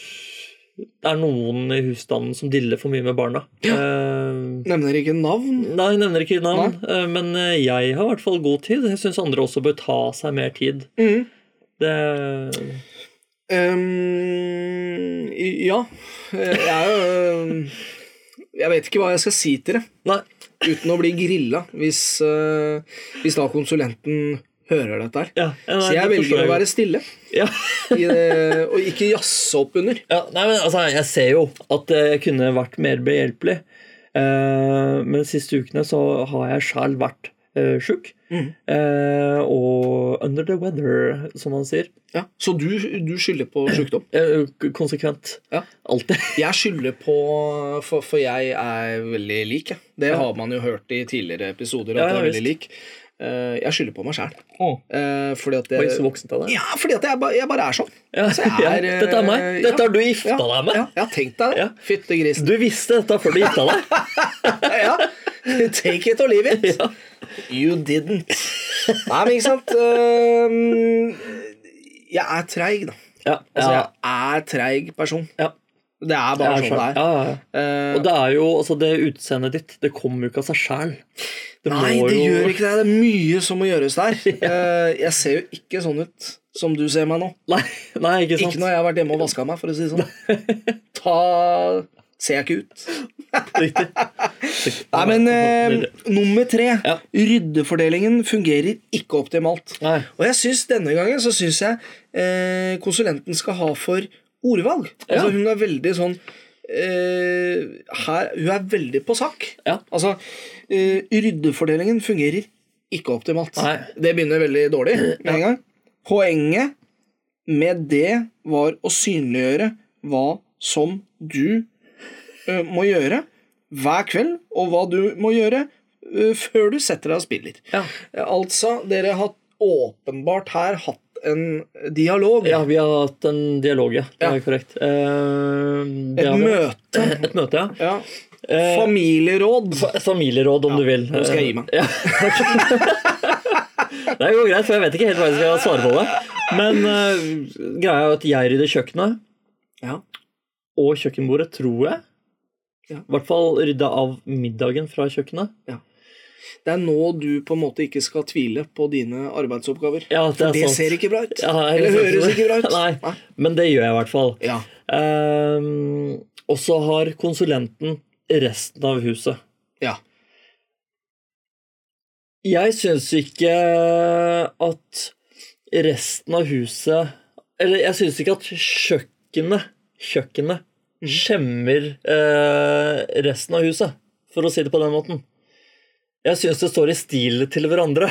Speaker 2: det er noen i husstanden som diller for mye med barna. Eh,
Speaker 1: Nevner ikke navn.
Speaker 2: nei, jeg nevner ikke navn, eh, men eh, jeg har i hvert fall god tid. Jeg syns andre også bør ta seg mer tid.
Speaker 1: Mhm.
Speaker 2: Det
Speaker 1: Ehm, ja. Eh, Jeg er jo ehm, Jeg vet ikke hva jeg skal si til det
Speaker 2: Nei.
Speaker 1: uten å bli grilla hvis, eh, hvis da konsulenten hører dette her.
Speaker 2: Ja, ja, nei,
Speaker 1: Så jeg
Speaker 2: det forstår
Speaker 1: velger å
Speaker 2: jeg.
Speaker 1: være stille
Speaker 2: ja.
Speaker 1: i det, og ikke jazze opp under.
Speaker 2: ja, nei, men altså, Jeg ser jo at eh, jeg kunne vært mer behjelpelig. Eh, men de siste ukene så har jeg sjæl vært uh, sjuk.
Speaker 1: Mm.
Speaker 2: Eh, og under the weather, som han sier.
Speaker 1: Ja. Så du, du skylder på sjukdom?
Speaker 2: Eh, k- konsekvent.
Speaker 1: Ja.
Speaker 2: Alltid.
Speaker 1: Jeg skylder på For, for jeg er veldig lik, jeg. Det har man jo hørt i tidligere episoder.
Speaker 2: Ja,
Speaker 1: At jeg er
Speaker 2: ja,
Speaker 1: veldig lik Eh, Jeg skylder på meg sjæl. Fordi at
Speaker 2: Oi, så
Speaker 1: jeg
Speaker 2: voksent av deg.
Speaker 1: Ja, fordi at jeg, ba, jeg bare er sånn.
Speaker 2: Ja,
Speaker 1: Så jeg er,
Speaker 2: ja, dette er meg.
Speaker 1: eh,
Speaker 2: Dette
Speaker 1: ja.
Speaker 2: har du gifta
Speaker 1: Ja,
Speaker 2: deg med.
Speaker 1: ja, ja, tenk deg det.
Speaker 2: Ja.
Speaker 1: Fytte grisen.
Speaker 2: Du visste dette før du gifta deg.
Speaker 1: Ja. Take it or leave it.
Speaker 2: ja.
Speaker 1: You didn't. Nei, men ikke sant Ehm, Jeg er treig, da.
Speaker 2: Ja,
Speaker 1: Altså,
Speaker 2: ja,
Speaker 1: jeg er treig person.
Speaker 2: ja.
Speaker 1: Det er
Speaker 2: Jeg
Speaker 1: bare
Speaker 2: er
Speaker 1: sånn det
Speaker 2: sånn.
Speaker 1: er.
Speaker 2: Ja, ja, ja.
Speaker 1: Eh,
Speaker 2: Og det er jo, altså det utseendet ditt, det kommer jo ikke av seg sjæl.
Speaker 1: Nei, det gjør ikke det. Det er mye som må gjøres der. Eh, Jeg ser jo ikke sånn ut som du ser meg nå.
Speaker 2: Nei, nei, ikke sant.
Speaker 1: Ikke når jeg har vært hjemme og vaska meg, for å si det sånn. Ta Ser jeg ikke ut.
Speaker 2: Riktig. Riktig.
Speaker 1: Nei, men eh, nummer tre.
Speaker 2: Ja.
Speaker 1: Ryddefordelingen fungerer ikke optimalt.
Speaker 2: Nei.
Speaker 1: Og jeg synes denne gangen så syns jeg eh, konsulenten skal ha for ordvalg. Altså,
Speaker 2: Ja.
Speaker 1: hun er veldig sånn eh, her, Hun er veldig på sak.
Speaker 2: Ja.
Speaker 1: Altså, eh, ryddefordelingen fungerer ikke optimalt.
Speaker 2: Nei.
Speaker 1: Det begynner veldig dårlig med en gang. Poenget med det var å synliggjøre hva som du eh, må gjøre hver kveld, og hva du må gjøre eh, før du setter deg og spiller.
Speaker 2: Ja.
Speaker 1: Eh, Altså, dere har åpenbart her hatt en dialog.
Speaker 2: ja, vi har hatt en dialog, ja. Det
Speaker 1: Ja.
Speaker 2: er korrekt. Eh, det
Speaker 1: et
Speaker 2: har vi.
Speaker 1: møte.
Speaker 2: Et møte, ja.
Speaker 1: Ja.
Speaker 2: Eh,
Speaker 1: Familieråd.
Speaker 2: Et Familieråd, om du vil.
Speaker 1: nå skal jeg gi meg.
Speaker 2: Ja, ok. det går greit, for jeg vet ikke helt hva jeg skal svare på det. Men eh, greia er jo at jeg rydder kjøkkenet,
Speaker 1: Ja.
Speaker 2: og kjøkkenbordet, tror jeg.
Speaker 1: Ja.
Speaker 2: I hvert fall rydda av middagen fra kjøkkenet.
Speaker 1: Det er nå du på en måte ikke skal tvile på dine arbeidsoppgaver.
Speaker 2: Ja, det
Speaker 1: For
Speaker 2: er
Speaker 1: det
Speaker 2: sant.
Speaker 1: ser ikke bra ut.
Speaker 2: Ja, det er
Speaker 1: Eller
Speaker 2: sant.
Speaker 1: høres ikke bra ut.
Speaker 2: Nei. Men det gjør jeg i hvert fall.
Speaker 1: Ja.
Speaker 2: Ehm, og så har konsulenten resten av huset.
Speaker 1: ja.
Speaker 2: Jeg syns ikke at resten av huset Eller jeg syns ikke at kjøkkenet Kjøkkenet skjemmer eh, resten av huset, for å si det på den måten. Jeg syns det står i stil til hverandre.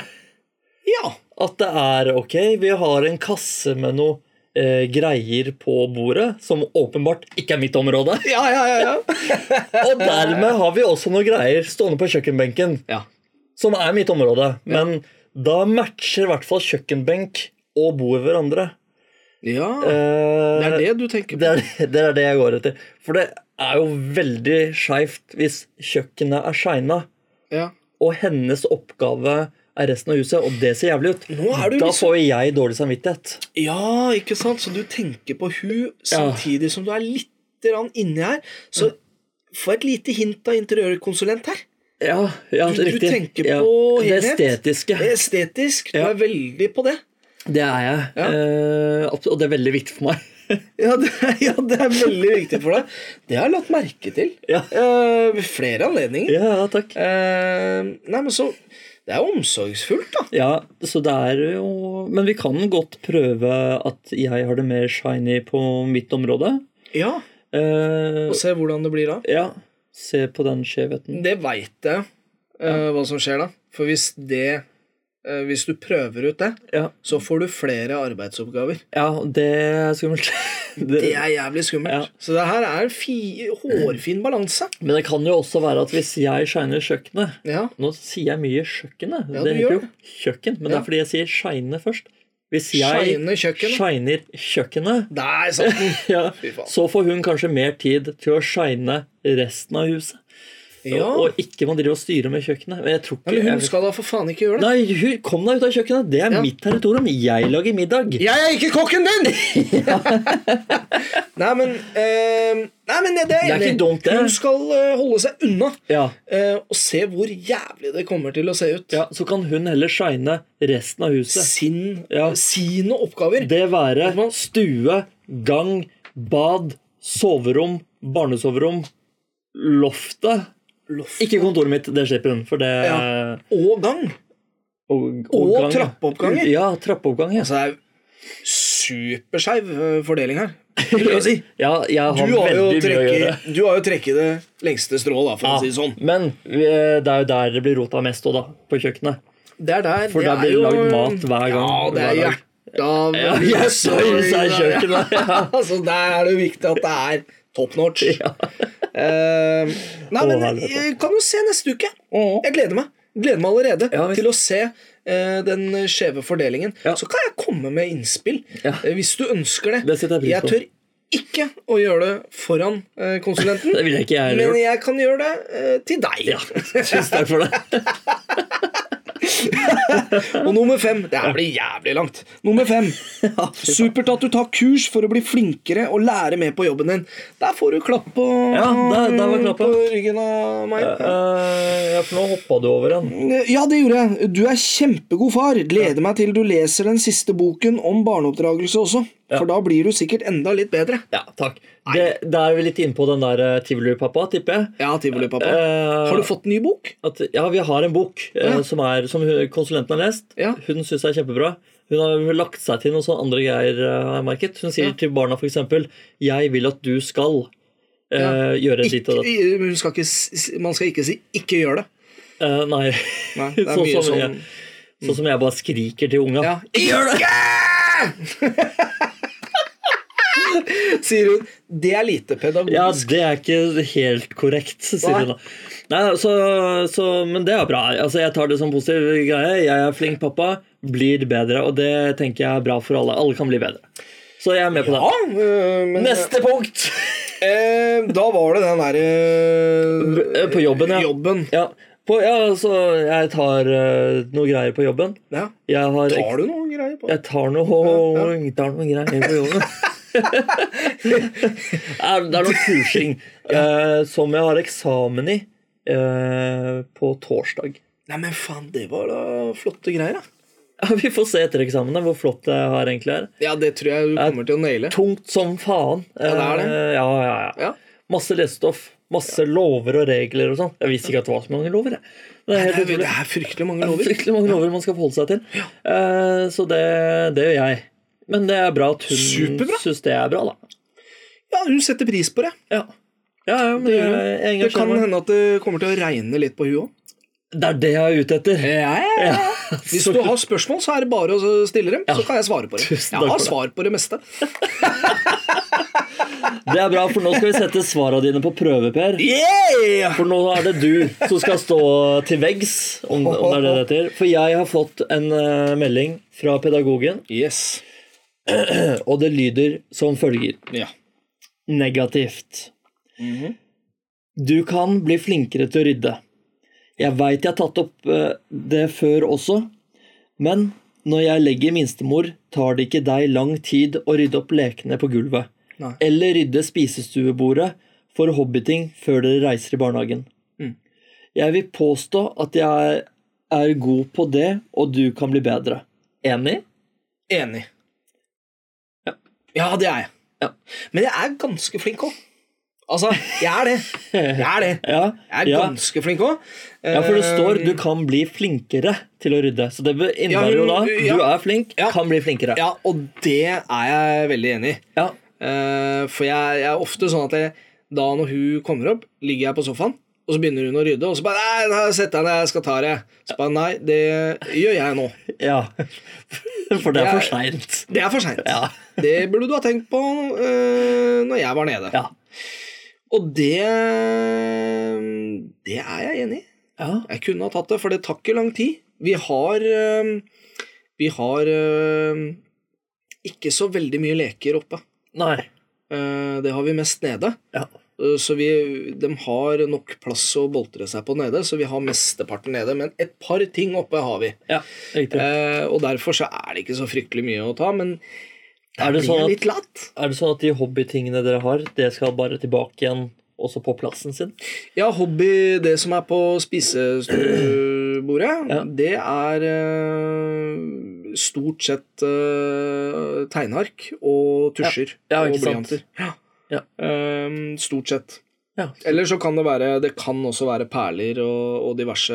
Speaker 1: Ja.
Speaker 2: at det er ok, vi har en kasse med noe eh, greier på bordet, som åpenbart ikke er mitt område.
Speaker 1: Ja, ja, ja, ja.
Speaker 2: Og dermed har vi også noe greier stående på kjøkkenbenken,
Speaker 1: Ja.
Speaker 2: som er mitt område. Men da matcher i hvert fall kjøkkenbenk og bord hverandre.
Speaker 1: ja. Det
Speaker 2: Eh,
Speaker 1: er det du tenker på.
Speaker 2: det er, det er det jeg går etter. For det er jo veldig skeivt hvis kjøkkenet er shina,
Speaker 1: Ja.
Speaker 2: og hennes oppgave er resten av huset, og det ser jævlig ut.
Speaker 1: Nå er du
Speaker 2: da
Speaker 1: liksom-
Speaker 2: får jeg dårlig samvittighet.
Speaker 1: ja, ikke sant? Så du tenker på hun samtidig som du er litt grann inni her. Så få et lite hint av interiørkonsulent her.
Speaker 2: Ja, ja
Speaker 1: Du- du
Speaker 2: riktig.
Speaker 1: tenker
Speaker 2: ja.
Speaker 1: på
Speaker 2: Det
Speaker 1: helhet.
Speaker 2: estetiske.
Speaker 1: Det er Estetisk. Du
Speaker 2: Ja.
Speaker 1: er veldig på det.
Speaker 2: Det er jeg.
Speaker 1: Ja.
Speaker 2: Eh, abs- og det er veldig viktig for meg.
Speaker 1: Ja, det, ja, det er veldig viktig for deg. Det har jeg lagt merke til
Speaker 2: Ja.
Speaker 1: eh, ved flere anledninger.
Speaker 2: ja, ja, takk.
Speaker 1: Eh, nei, men så Det er omsorgsfullt, da.
Speaker 2: Ja, så det er jo Men vi kan godt prøve at jeg har det mer shiny på mitt område.
Speaker 1: Ja,
Speaker 2: Eh,
Speaker 1: Og se hvordan det blir da.
Speaker 2: ja. Se på den skjevheten.
Speaker 1: Det veit jeg eh, hva som skjer da. For hvis det eh, Hvis du prøver ut det,
Speaker 2: Ja,
Speaker 1: så får du flere arbeidsoppgaver.
Speaker 2: ja det er skummelt. Det-
Speaker 1: Det er jævlig skummelt.
Speaker 2: Ja.
Speaker 1: Så det her er en fi, hårfin balanse.
Speaker 2: Men det kan jo også være at hvis jeg shiner kjøkkenet
Speaker 1: Ja.
Speaker 2: Nå sier jeg mye kjøkkenet.
Speaker 1: Ja,
Speaker 2: det
Speaker 1: du
Speaker 2: heter
Speaker 1: gjør
Speaker 2: jo kjøkken, men det
Speaker 1: Ja.
Speaker 2: er fordi jeg sier shine først. Hvis jeg
Speaker 1: Shine kjøkkenet.
Speaker 2: shiner kjøkkenet,
Speaker 1: Der satt den!
Speaker 2: ja,
Speaker 1: Fy faen.
Speaker 2: så får hun kanskje mer tid til å shine resten av huset.
Speaker 1: Ja.
Speaker 2: Og ikke man driver og styrer med kjøkkenet. Men jeg tror ikke
Speaker 1: Men
Speaker 2: jeg
Speaker 1: hun
Speaker 2: vet-
Speaker 1: skal da for faen ikke gjøre det.
Speaker 2: Nei, hun, kom deg ut av kjøkkenet! Det er
Speaker 1: Ja.
Speaker 2: mitt territorium. Jeg lager middag.
Speaker 1: Jeg er ikke kokken din! nei, men eh, Nei, men det, det er
Speaker 2: Det er
Speaker 1: enig.
Speaker 2: ikke dumt, det.
Speaker 1: Hun skal eh, holde seg unna
Speaker 2: Ja.
Speaker 1: eh, og se hvor jævlig det kommer til å se ut.
Speaker 2: ja, Så kan hun heller shine resten av huset.
Speaker 1: Sin,
Speaker 2: Ja.
Speaker 1: Sine oppgaver.
Speaker 2: Det være stue, gang, bad, soverom, barnesoverom, loftet.
Speaker 1: Loft
Speaker 2: Ikke kontoret mitt, det slipper hun. For det
Speaker 1: Ja. og gang.
Speaker 2: Og,
Speaker 1: Og
Speaker 2: gang, ja.
Speaker 1: trappeoppganger.
Speaker 2: Ja, trappeoppgang. Ja.
Speaker 1: Altså, det er superskeiv eh, fordeling her. vil jeg si.
Speaker 2: ja, jeg
Speaker 1: Du
Speaker 2: har
Speaker 1: har, jo
Speaker 2: veldig mye å gjøre.
Speaker 1: trekket, du har jo trekket det lengste strået, da, for å si det sånn.
Speaker 2: Men eh, det er jo der det blir rota mest òg, da. På kjøkkenet.
Speaker 1: det er der.
Speaker 2: For
Speaker 1: det
Speaker 2: der
Speaker 1: er
Speaker 2: blir det
Speaker 1: jo-
Speaker 2: lagd mat hver gang,
Speaker 1: Ja, det er
Speaker 2: hver dag.
Speaker 1: hjertet av
Speaker 2: Ja, yes,
Speaker 1: Oi,
Speaker 2: yes, er
Speaker 1: der,
Speaker 2: kjøkkenet,
Speaker 1: Ja. altså, der er det jo viktig at det er top notch. Eh, nei,
Speaker 2: Å,
Speaker 1: men
Speaker 2: helvete.
Speaker 1: jeg kan jo se neste uke. Jeg gleder meg. Gleder meg allerede
Speaker 2: Ja, visst.
Speaker 1: til å se eh, den skjeve fordelingen.
Speaker 2: Ja.
Speaker 1: Så kan jeg komme med innspill
Speaker 2: Ja.
Speaker 1: eh, hvis du ønsker det.
Speaker 2: Det setter jeg pris på.
Speaker 1: tør ikke å gjøre det foran eh, konsulenten,
Speaker 2: Det ville ikke jeg heller
Speaker 1: men
Speaker 2: gjort.
Speaker 1: jeg kan gjøre det eh, til deg.
Speaker 2: Ja, tusen takk for det.
Speaker 1: Og nummer fem Det her blir jævlig langt. Nummer fem. Supert at du tar kurs for å bli flinkere og lære mer på jobben din. Der får du klapp på,
Speaker 2: Ja, der- der var klappen.
Speaker 1: på ryggen av meg.
Speaker 2: Eh, ja, for nå hoppa du over en.
Speaker 1: Ja, det gjorde jeg. Du er kjempegod far. Gleder meg til du leser den siste boken om barneoppdragelse også. For da blir du sikkert enda litt bedre.
Speaker 2: Ja, takk. Det, da er vi litt inne på den der eh, tivolipappa, tipper jeg.
Speaker 1: Ja, tivolipappa.
Speaker 2: Eh,
Speaker 1: Har du fått ny bok?
Speaker 2: at, ja, vi har en bok eh,
Speaker 1: Ja.
Speaker 2: som, er, som hun- konsulenten har lest.
Speaker 1: Ja.
Speaker 2: Hun syns er kjempebra. Hun har lagt seg til noen sånne andre greier. eh, har jeg merket. Hun sier
Speaker 1: Ja.
Speaker 2: til barna f.eks.: Jeg vil at du skal eh,
Speaker 1: Ja.
Speaker 2: gjøre ditt
Speaker 1: Ikke,
Speaker 2: og datt.
Speaker 1: hun skal ikke, s- man skal ikke si 'ikke gjør det'.
Speaker 2: Eh, nei.
Speaker 1: Nei, det er mye
Speaker 2: sånn, som
Speaker 1: sånn
Speaker 2: jeg, sånn som jeg bare skriker til unga.
Speaker 1: Ja. Gjør det! Sier hun. Det er lite
Speaker 2: Ja,
Speaker 1: pedagogisk.
Speaker 2: det er ikke helt korrekt, sier
Speaker 1: Nei.
Speaker 2: hun da. Nei, så, så, men det er bra. Altså, jeg tar det som positiv greie. Jeg er flink pappa, blir bedre, og det tenker jeg er bra for alle. Alle kan bli bedre. Så jeg er med på det.
Speaker 1: øh, men
Speaker 2: Neste punkt!
Speaker 1: eh, Da var det den derre
Speaker 2: B- på jobben, ja.
Speaker 1: eh, jobben.
Speaker 2: Ja, på, ja så jeg tar eh, noe greier på jobben.
Speaker 1: Ja.
Speaker 2: Jeg har
Speaker 1: Har du noe greier på det?
Speaker 2: Jeg tar noe, jeg tar noe greier på jobben. Nei, det er noe kursing eh, som jeg har eksamen i eh, på torsdag.
Speaker 1: Nei, men faen, det var da flotte greier, da.
Speaker 2: Ja, Vi får se etter eksamen da, hvor flott det her egentlig er.
Speaker 1: Ja, det tror jeg du kommer til å naile.
Speaker 2: Tungt som faen.
Speaker 1: det er det.
Speaker 2: Eh, Ja, ja, ja.
Speaker 1: Ja.
Speaker 2: Masse lesestoff. Masse lover og regler og sånn. Jeg visste ikke at det var så mange lover. Jeg. Det er
Speaker 1: Det
Speaker 2: helt
Speaker 1: er,
Speaker 2: utrolig.
Speaker 1: det er fryktelig mange
Speaker 2: Det er
Speaker 1: lover.
Speaker 2: Fryktelig mange lover man skal forholde seg til. Eh, Så det, det gjør jeg. Men det er bra at hun
Speaker 1: Superbra.
Speaker 2: syns det er bra, da.
Speaker 1: Ja, hun setter pris på det.
Speaker 2: Ja, ja, ja men det,
Speaker 1: gjør
Speaker 2: jeg
Speaker 1: Det kan
Speaker 2: engasjerer meg.
Speaker 1: hende at det kommer til å regne litt på huet òg.
Speaker 2: Det er det jeg er ute etter.
Speaker 1: Hvis du har spørsmål, så er det bare å stille dem, så kan jeg svare på det.
Speaker 2: Tusen takk
Speaker 1: Jeg har
Speaker 2: for det.
Speaker 1: svar på det meste.
Speaker 2: Det er bra, for nå skal vi sette svarene dine på prøve, Per.
Speaker 1: Yeah!
Speaker 2: For nå er det du som skal stå til veggs, om, om det er det det heter. For jeg har fått en eh, melding fra pedagogen,
Speaker 1: Yes.
Speaker 2: og det lyder som følger.
Speaker 1: Ja.
Speaker 2: negativt.
Speaker 1: Mhm.
Speaker 2: Du kan bli flinkere til å rydde. Jeg veit jeg har tatt opp eh, det før også, men når jeg legger minstemor, tar det ikke deg lang tid å rydde opp lekene på gulvet.
Speaker 1: Nei.
Speaker 2: Eller rydde spisestuebordet for hobbyting før dere reiser i barnehagen.
Speaker 1: Mm.
Speaker 2: Jeg vil påstå at jeg er god på det, og du kan bli bedre. Enig?
Speaker 1: Enig.
Speaker 2: Ja.
Speaker 1: Ja, det er jeg.
Speaker 2: Ja.
Speaker 1: Men jeg er ganske flink òg. Altså, jeg er det. Jeg er det.
Speaker 2: Ja.
Speaker 1: Jeg er
Speaker 2: ja.
Speaker 1: ganske flink òg.
Speaker 2: Ja, for det står 'du kan bli flinkere til å rydde'. Så det be- innebærer jo da
Speaker 1: Eh, Ja, ja.
Speaker 2: 'du er flink,
Speaker 1: Ja.
Speaker 2: kan bli flinkere'.
Speaker 1: Eh, Ja, og det er jeg veldig enig i.
Speaker 2: Ja.
Speaker 1: Eh, for jeg, jeg er ofte sånn at jeg, da når hun kommer opp, ligger jeg på sofaen, og så begynner hun å rydde, og så bare Nei, nei sett deg ned, jeg skal ta det. Så bare Nei, det gjør jeg nå.
Speaker 2: ja. For det er for
Speaker 1: Jeg-
Speaker 2: seint.
Speaker 1: Det er for seint.
Speaker 2: Ja.
Speaker 1: Det burde du ha tenkt på uh, når jeg var nede.
Speaker 2: Ja.
Speaker 1: Og det Det er jeg enig i.
Speaker 2: Ja.
Speaker 1: Jeg kunne ha tatt det, for det tar ikke lang tid. Vi har eh, Vi har eh, ikke så veldig mye leker oppe.
Speaker 2: Nei.
Speaker 1: Eh, Det har vi mest nede.
Speaker 2: Ja.
Speaker 1: Eh, Så vi, de har nok plass å boltre seg på nede, så vi har mesteparten nede. Men et par ting oppe har vi.
Speaker 2: ja. Riktig.
Speaker 1: Eh, og derfor så er det ikke så fryktelig mye å ta, men
Speaker 2: Er det
Speaker 1: blir
Speaker 2: sånn at-
Speaker 1: litt latt.
Speaker 2: Er det sånn at de hobbytingene dere har, det skal bare tilbake igjen også på plassen sin?
Speaker 1: Ja, hobby, det som er på spisestuebordet,
Speaker 2: Ja.
Speaker 1: det er eh, stort sett eh, tegneark og tusjer
Speaker 2: Ja, ja,
Speaker 1: og
Speaker 2: ikke sant.
Speaker 1: blyanter. Ja.
Speaker 2: Ja.
Speaker 1: Eh, stort sett.
Speaker 2: Ja.
Speaker 1: Eller så kan det være Det kan også være perler og, og diverse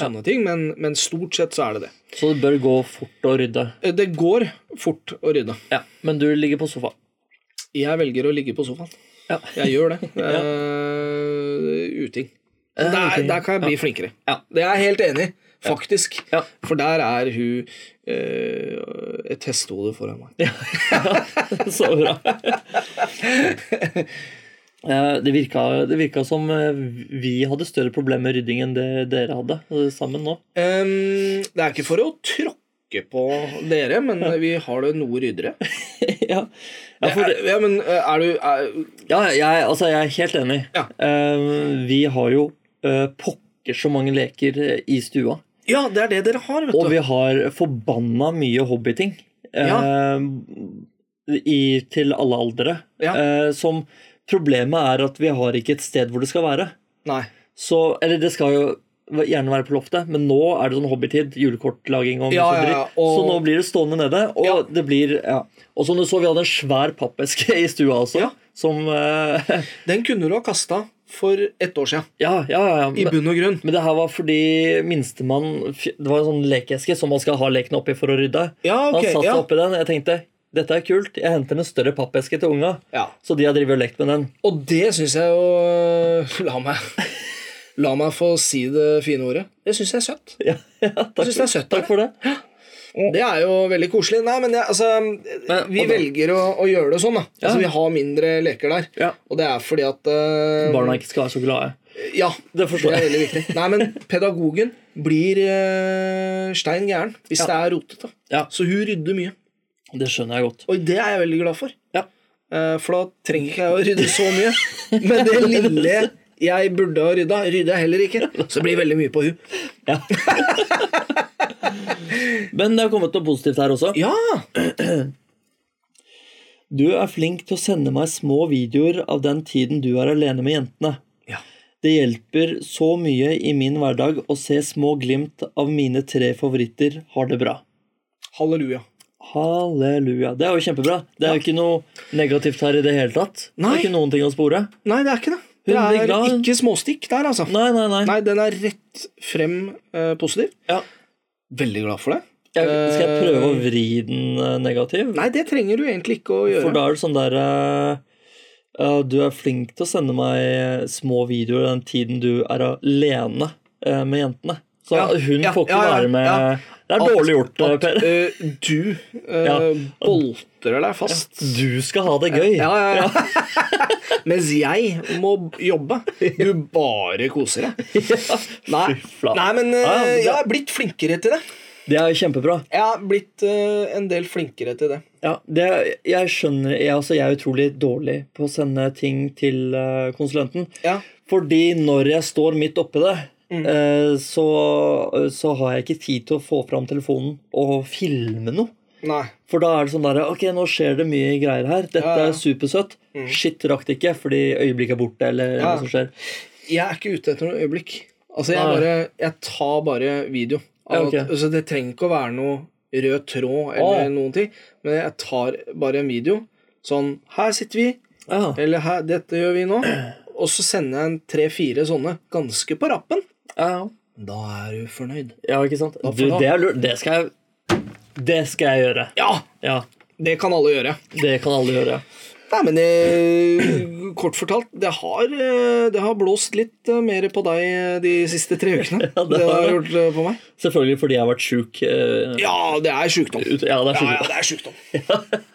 Speaker 1: sånne ting, men, men stort sett så er det det.
Speaker 2: Så det bør gå fort å rydde.
Speaker 1: Eh, Det går fort å rydde.
Speaker 2: Ja. Men du ligger på sofaen.
Speaker 1: Jeg velger å ligge på sofaen.
Speaker 2: Ja.
Speaker 1: Jeg gjør det. Eh, uting.
Speaker 2: Ja,
Speaker 1: Der,
Speaker 2: ok.
Speaker 1: der kan jeg bli flinkere.
Speaker 2: Ja.
Speaker 1: Det er jeg helt enig i. faktisk.
Speaker 2: Ja.
Speaker 1: For der er hun eh, et hestehode foran meg.
Speaker 2: Så bra. Eh, Det virka, det virka som eh, vi hadde større problemer med rydding enn det dere hadde eh, sammen nå.
Speaker 1: Em, det er ikke for å tråkke på dere, men vi har det noe ryddere.
Speaker 2: ja. Ja, for det,
Speaker 1: Ja, men eh, er du er,
Speaker 2: ja, jeg, altså, jeg er helt enig.
Speaker 1: Ja.
Speaker 2: Eh, Vi har jo eh, pokker så mange leker eh, i stua.
Speaker 1: Ja, det er det dere har, vet
Speaker 2: Og
Speaker 1: du.
Speaker 2: vi har forbanna mye hobbyting. eh, I, til alle aldre.
Speaker 1: Ja.
Speaker 2: Eh, som Problemet er at vi har ikke et sted hvor det skal være.
Speaker 1: Nei.
Speaker 2: Så, eller det skal jo gjerne være på loftet, men nå er det sånn hobbytid. Julekortlaging og mye
Speaker 1: Ja,
Speaker 2: sånn
Speaker 1: ja, ja,
Speaker 2: dritt.
Speaker 1: og-
Speaker 2: Så nå blir det stående nede. Og
Speaker 1: Ja.
Speaker 2: det blir ja. Og som du så, vi hadde en svær pappeske i stua også.
Speaker 1: Ja.
Speaker 2: Som eh,
Speaker 1: Den kunne du ha kasta for ett år siden,
Speaker 2: Ja, ja, ja.
Speaker 1: i
Speaker 2: Men,
Speaker 1: bunn og grunn.
Speaker 2: men det her var fordi minstemann fj- Det var en sånn lekeeske som man skal ha leken oppi for å rydde.
Speaker 1: Ja, ok,
Speaker 2: Han satt
Speaker 1: ja.
Speaker 2: seg oppi den. Jeg tenkte dette er kult. Jeg henter en større pappeske til unga.
Speaker 1: Ja.
Speaker 2: Så de har drevet og lekt med den.
Speaker 1: Og det syns jeg jo La meg La meg få si det fine ordet. Det syns jeg er søtt.
Speaker 2: Ja, ja, takk,
Speaker 1: synes det er søtt, da.
Speaker 2: takk for det.
Speaker 1: Det er jo veldig koselig. Nei, men det, altså,
Speaker 2: Men-
Speaker 1: vi
Speaker 2: og da-
Speaker 1: velger å, å gjøre det sånn. da.
Speaker 2: Ja.
Speaker 1: Altså, Vi har mindre leker der.
Speaker 2: Ja.
Speaker 1: Og det er fordi at eh,
Speaker 2: Barna ikke skal være så glade.
Speaker 1: Ja,
Speaker 2: Det
Speaker 1: er
Speaker 2: forstår jeg.
Speaker 1: veldig viktig. Nei, men pedagogen blir eh, stein gæren hvis det er rotete.
Speaker 2: Ja.
Speaker 1: Så hun rydder mye.
Speaker 2: Det skjønner jeg godt.
Speaker 1: Og det er jeg veldig glad for.
Speaker 2: Ja.
Speaker 1: Eh, For da trenger ikke jeg å rydde så mye. Men det lille jeg burde ha rydda, rydder jeg heller ikke. Så det blir veldig mye på hun.
Speaker 2: Ja. Men det har kommet noe positivt her også.
Speaker 1: Ja!
Speaker 2: Du er flink til å sende meg små videoer av den tiden du er alene med jentene.
Speaker 1: Ja.
Speaker 2: Det hjelper så mye i min hverdag å se små glimt av mine tre favoritter har det bra.
Speaker 1: Halleluja.
Speaker 2: Halleluja. Det er jo kjempebra. Det er jo ikke noe negativt her i det hele tatt. Det
Speaker 1: Nei.
Speaker 2: er ikke noen ting å spore.
Speaker 1: Nei, det er ikke det. Det
Speaker 2: Hun blir
Speaker 1: er
Speaker 2: glad, hun.
Speaker 1: ikke småstikk der, altså.
Speaker 2: Nei, nei, nei.
Speaker 1: Nei, den er rett frem eh, positiv.
Speaker 2: Ja.
Speaker 1: Veldig glad for det.
Speaker 2: Jeg, skal jeg prøve å
Speaker 1: Eh,
Speaker 2: vri den eh, negativ?
Speaker 1: Nei, det trenger du egentlig ikke å
Speaker 2: For
Speaker 1: gjøre.
Speaker 2: da er det sånn der eh, eh, Du er flink til å sende meg små videoer den tiden du er alene eh, med jentene. Så
Speaker 1: Ja,
Speaker 2: hun
Speaker 1: ja,
Speaker 2: får ikke
Speaker 1: ja, ja,
Speaker 2: være med
Speaker 1: ja.
Speaker 2: Det er
Speaker 1: At-
Speaker 2: dårlig gjort, eh, Per.
Speaker 1: Eh, du eh,
Speaker 2: Ja.
Speaker 1: boltrer deg fast.
Speaker 2: Du skal ha det gøy.
Speaker 1: Ja, ja, ja. Mens jeg må jobbe. Du bare koser deg. Nei,
Speaker 2: Fy flate.
Speaker 1: Nei men eh,
Speaker 2: Ja, ja, men
Speaker 1: jeg
Speaker 2: det-
Speaker 1: har blitt flinkere til det.
Speaker 2: Det er jo kjempebra.
Speaker 1: Jeg har blitt eh, en del flinkere til det.
Speaker 2: Ja, det, jeg skjønner jeg, altså, jeg er utrolig dårlig på å sende ting til eh, konsulenten.
Speaker 1: Ja. Mm.
Speaker 2: Fordi når jeg står midt oppi det, eh, så, så har jeg ikke tid til å få fram telefonen og filme noe.
Speaker 1: Nei.
Speaker 2: For da er det sånn der, ok, nå skjer det mye greier her. Dette
Speaker 1: Ja, ja.
Speaker 2: er supersøtt. Shit, rakk det ikke, fordi øyeblikket er borte, eller
Speaker 1: Ja.
Speaker 2: noe som skjer.
Speaker 1: Jeg er ikke ute etter noe øyeblikk. Altså, jeg,
Speaker 2: Nei.
Speaker 1: bare, jeg tar bare video.
Speaker 2: Ja, ok.
Speaker 1: altså, det trenger ikke å være noe rød tråd eller
Speaker 2: Å.
Speaker 1: noen ting, men jeg tar bare en video. Sånn Her sitter vi,
Speaker 2: Ja.
Speaker 1: eller her, dette gjør vi nå. Og så sender jeg en tre-fire sånne ganske på rappen.
Speaker 2: Ja.
Speaker 1: Da er du fornøyd.
Speaker 2: ja, ikke sant?
Speaker 1: for
Speaker 2: Du,
Speaker 1: da?
Speaker 2: det er lurt. Det skal jeg, det skal jeg gjøre.
Speaker 1: Ja!
Speaker 2: Ja,
Speaker 1: Det kan alle gjøre.
Speaker 2: det kan alle gjøre.
Speaker 1: Nei, men eh, kort fortalt, det har, eh, det har blåst litt eh, mer på deg eh, de siste tre ukene.
Speaker 2: Ja, det
Speaker 1: det,
Speaker 2: har
Speaker 1: har
Speaker 2: det.
Speaker 1: gjort eh, på meg.
Speaker 2: Selvfølgelig fordi jeg har vært sjuk. eh,
Speaker 1: Ja, det er sjukdom.
Speaker 2: ut- ja, det er
Speaker 1: Ja,
Speaker 2: sjuk.
Speaker 1: ja, det er sjukdom.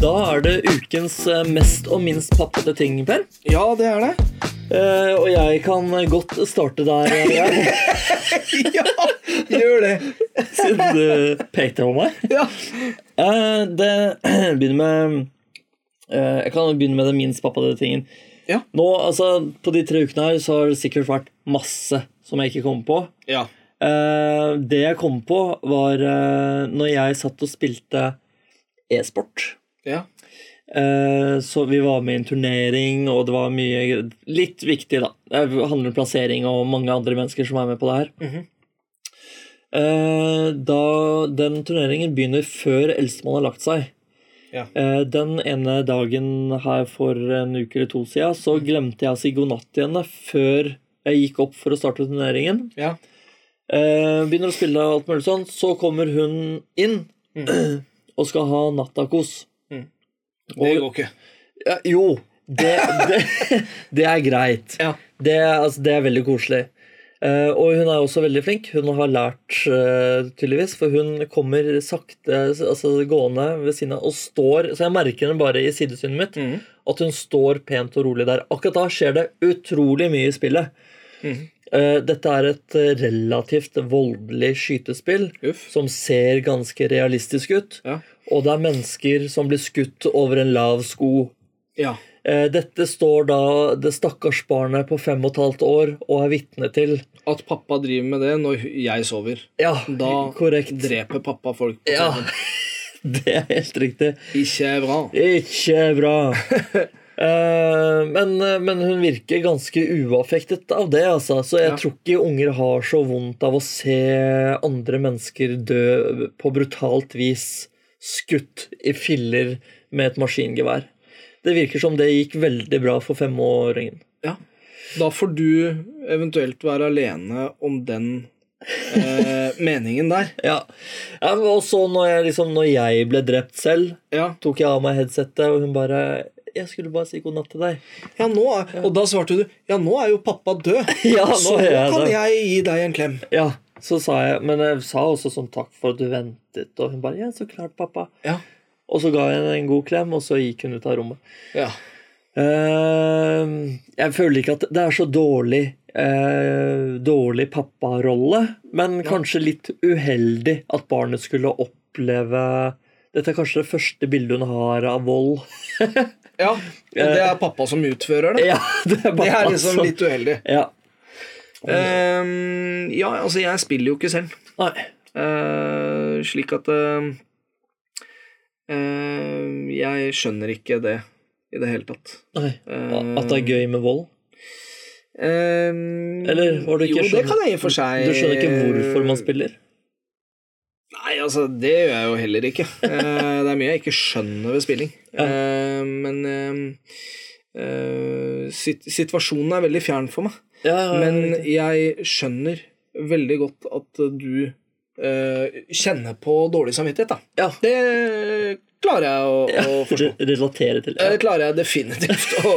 Speaker 2: Da er det ukens eh, mest og minst pappete ting, Per.
Speaker 1: Ja, det er det.
Speaker 2: Eh, og jeg kan godt starte der, eh, jeg,
Speaker 1: ja, gjør det.
Speaker 2: siden du pekte på meg.
Speaker 1: Ja.
Speaker 2: Eh, det begynner med eh, Jeg kan jo begynne med det minst pappate tingen.
Speaker 1: Ja.
Speaker 2: Nå, altså, På de tre ukene her så har det sikkert vært masse som jeg ikke kom på.
Speaker 1: Ja.
Speaker 2: Eh, det jeg kom på, var uh, når jeg satt og spilte e-sport.
Speaker 1: ja.
Speaker 2: Eh, så vi var med i en turnering, og det var mye Litt viktig, da. Det handler om plassering og mange andre mennesker som er med på det her.
Speaker 1: Mhm.
Speaker 2: Eh, da den turneringen begynner før eldstemann har lagt seg.
Speaker 1: Ja.
Speaker 2: Eh, den ene dagen her for en uke eller to siden så glemte jeg å si god natt til henne før jeg gikk opp for å starte turneringen.
Speaker 1: Ja.
Speaker 2: Eh, begynner å spille og alt mulig sånn. Så kommer hun inn og skal ha nattakos.
Speaker 1: Mm. Det går ikke.
Speaker 2: Ja, jo, Det, det, det er greit.
Speaker 1: Ja.
Speaker 2: Det, er- altså, det er veldig koselig. Eh, og hun er også veldig flink. Hun har lært, eh, tydeligvis, for hun kommer sakte altså, gående ved siden av og står Så jeg merker henne bare i sidesynet mitt, at hun står pent og rolig der. Akkurat da skjer det utrolig mye i spillet. Eh, dette er et relativt voldelig skytespill
Speaker 1: Uff.
Speaker 2: som ser ganske realistisk ut.
Speaker 1: Ja.
Speaker 2: Og det er mennesker som blir skutt over en lav sko.
Speaker 1: Ja.
Speaker 2: Eh, Dette står da det stakkars barnet på fem og et halvt år og er vitne til.
Speaker 1: At pappa driver med det når jeg sover.
Speaker 2: Ja,
Speaker 1: Da
Speaker 2: korrekt.
Speaker 1: dreper pappa folk. på
Speaker 2: Ja,
Speaker 1: TV.
Speaker 2: det er helt riktig.
Speaker 1: Ikke bra.
Speaker 2: Ikke bra. Eh, men, men hun virker ganske uaffektet av det, altså. Så jeg
Speaker 1: Ja.
Speaker 2: tror ikke unger har så vondt av å se andre mennesker dø på brutalt vis. Skutt i filler med et maskingevær. Det virker som det gikk veldig bra for femåringen.
Speaker 1: Ja. Da får du eventuelt være alene om den eh, meningen der.
Speaker 2: Ja. ja og så når jeg, liksom, når jeg ble drept selv,
Speaker 1: Ja.
Speaker 2: tok jeg av meg headsetet, og hun bare 'Jeg skulle bare si god natt til deg'.
Speaker 1: ja, nå er, Og da svarte du ja, nå er jo pappa død,
Speaker 2: Ja, nå
Speaker 1: så
Speaker 2: er jeg
Speaker 1: kan
Speaker 2: død.»
Speaker 1: jeg gi deg en klem.
Speaker 2: Ja, så sa jeg Men jeg sa også sånn 'takk for at du ventet', og hun bare 'ja, så klart, pappa'.
Speaker 1: Ja.
Speaker 2: Og så ga jeg henne en god klem, og så gikk hun ut av rommet.
Speaker 1: ja.
Speaker 2: Eh, jeg føler ikke at det er så dårlig eh, dårlig papparolle, men kanskje litt uheldig at barnet skulle oppleve Dette er kanskje det første bildet hun har av vold.
Speaker 1: Ja, og det er pappa som utfører det.
Speaker 2: Ja, Eh, det er
Speaker 1: Det
Speaker 2: bare
Speaker 1: er liksom
Speaker 2: altså-
Speaker 1: litt uheldig.
Speaker 2: Ja.
Speaker 1: Ehm, ja, altså, jeg spiller jo ikke selv,
Speaker 2: Nei.
Speaker 1: Eh, slik at eh, eh, Jeg skjønner ikke det i det hele tatt.
Speaker 2: Nei.
Speaker 1: Eh,
Speaker 2: At det er gøy med vold?
Speaker 1: Ehm,
Speaker 2: Eller var det ikke
Speaker 1: Jo, det kan jeg i og for seg
Speaker 2: Du skjønner ikke hvorfor man spiller?
Speaker 1: Nei, altså, det gjør jeg jo heller ikke. Eh, det er mye jeg ikke skjønner ved spilling.
Speaker 2: Ja.
Speaker 1: Eh, men eh, eh, sit situasjonen er veldig fjern for meg.
Speaker 2: Ja, ja, ja,
Speaker 1: Men
Speaker 2: riktig.
Speaker 1: jeg skjønner veldig godt at du eh, kjenner på dårlig samvittighet, da.
Speaker 2: ja.
Speaker 1: Det klarer jeg å, å forstå.
Speaker 2: Re- Relatere til.
Speaker 1: Eh, Det
Speaker 2: Ja.
Speaker 1: klarer jeg definitivt å,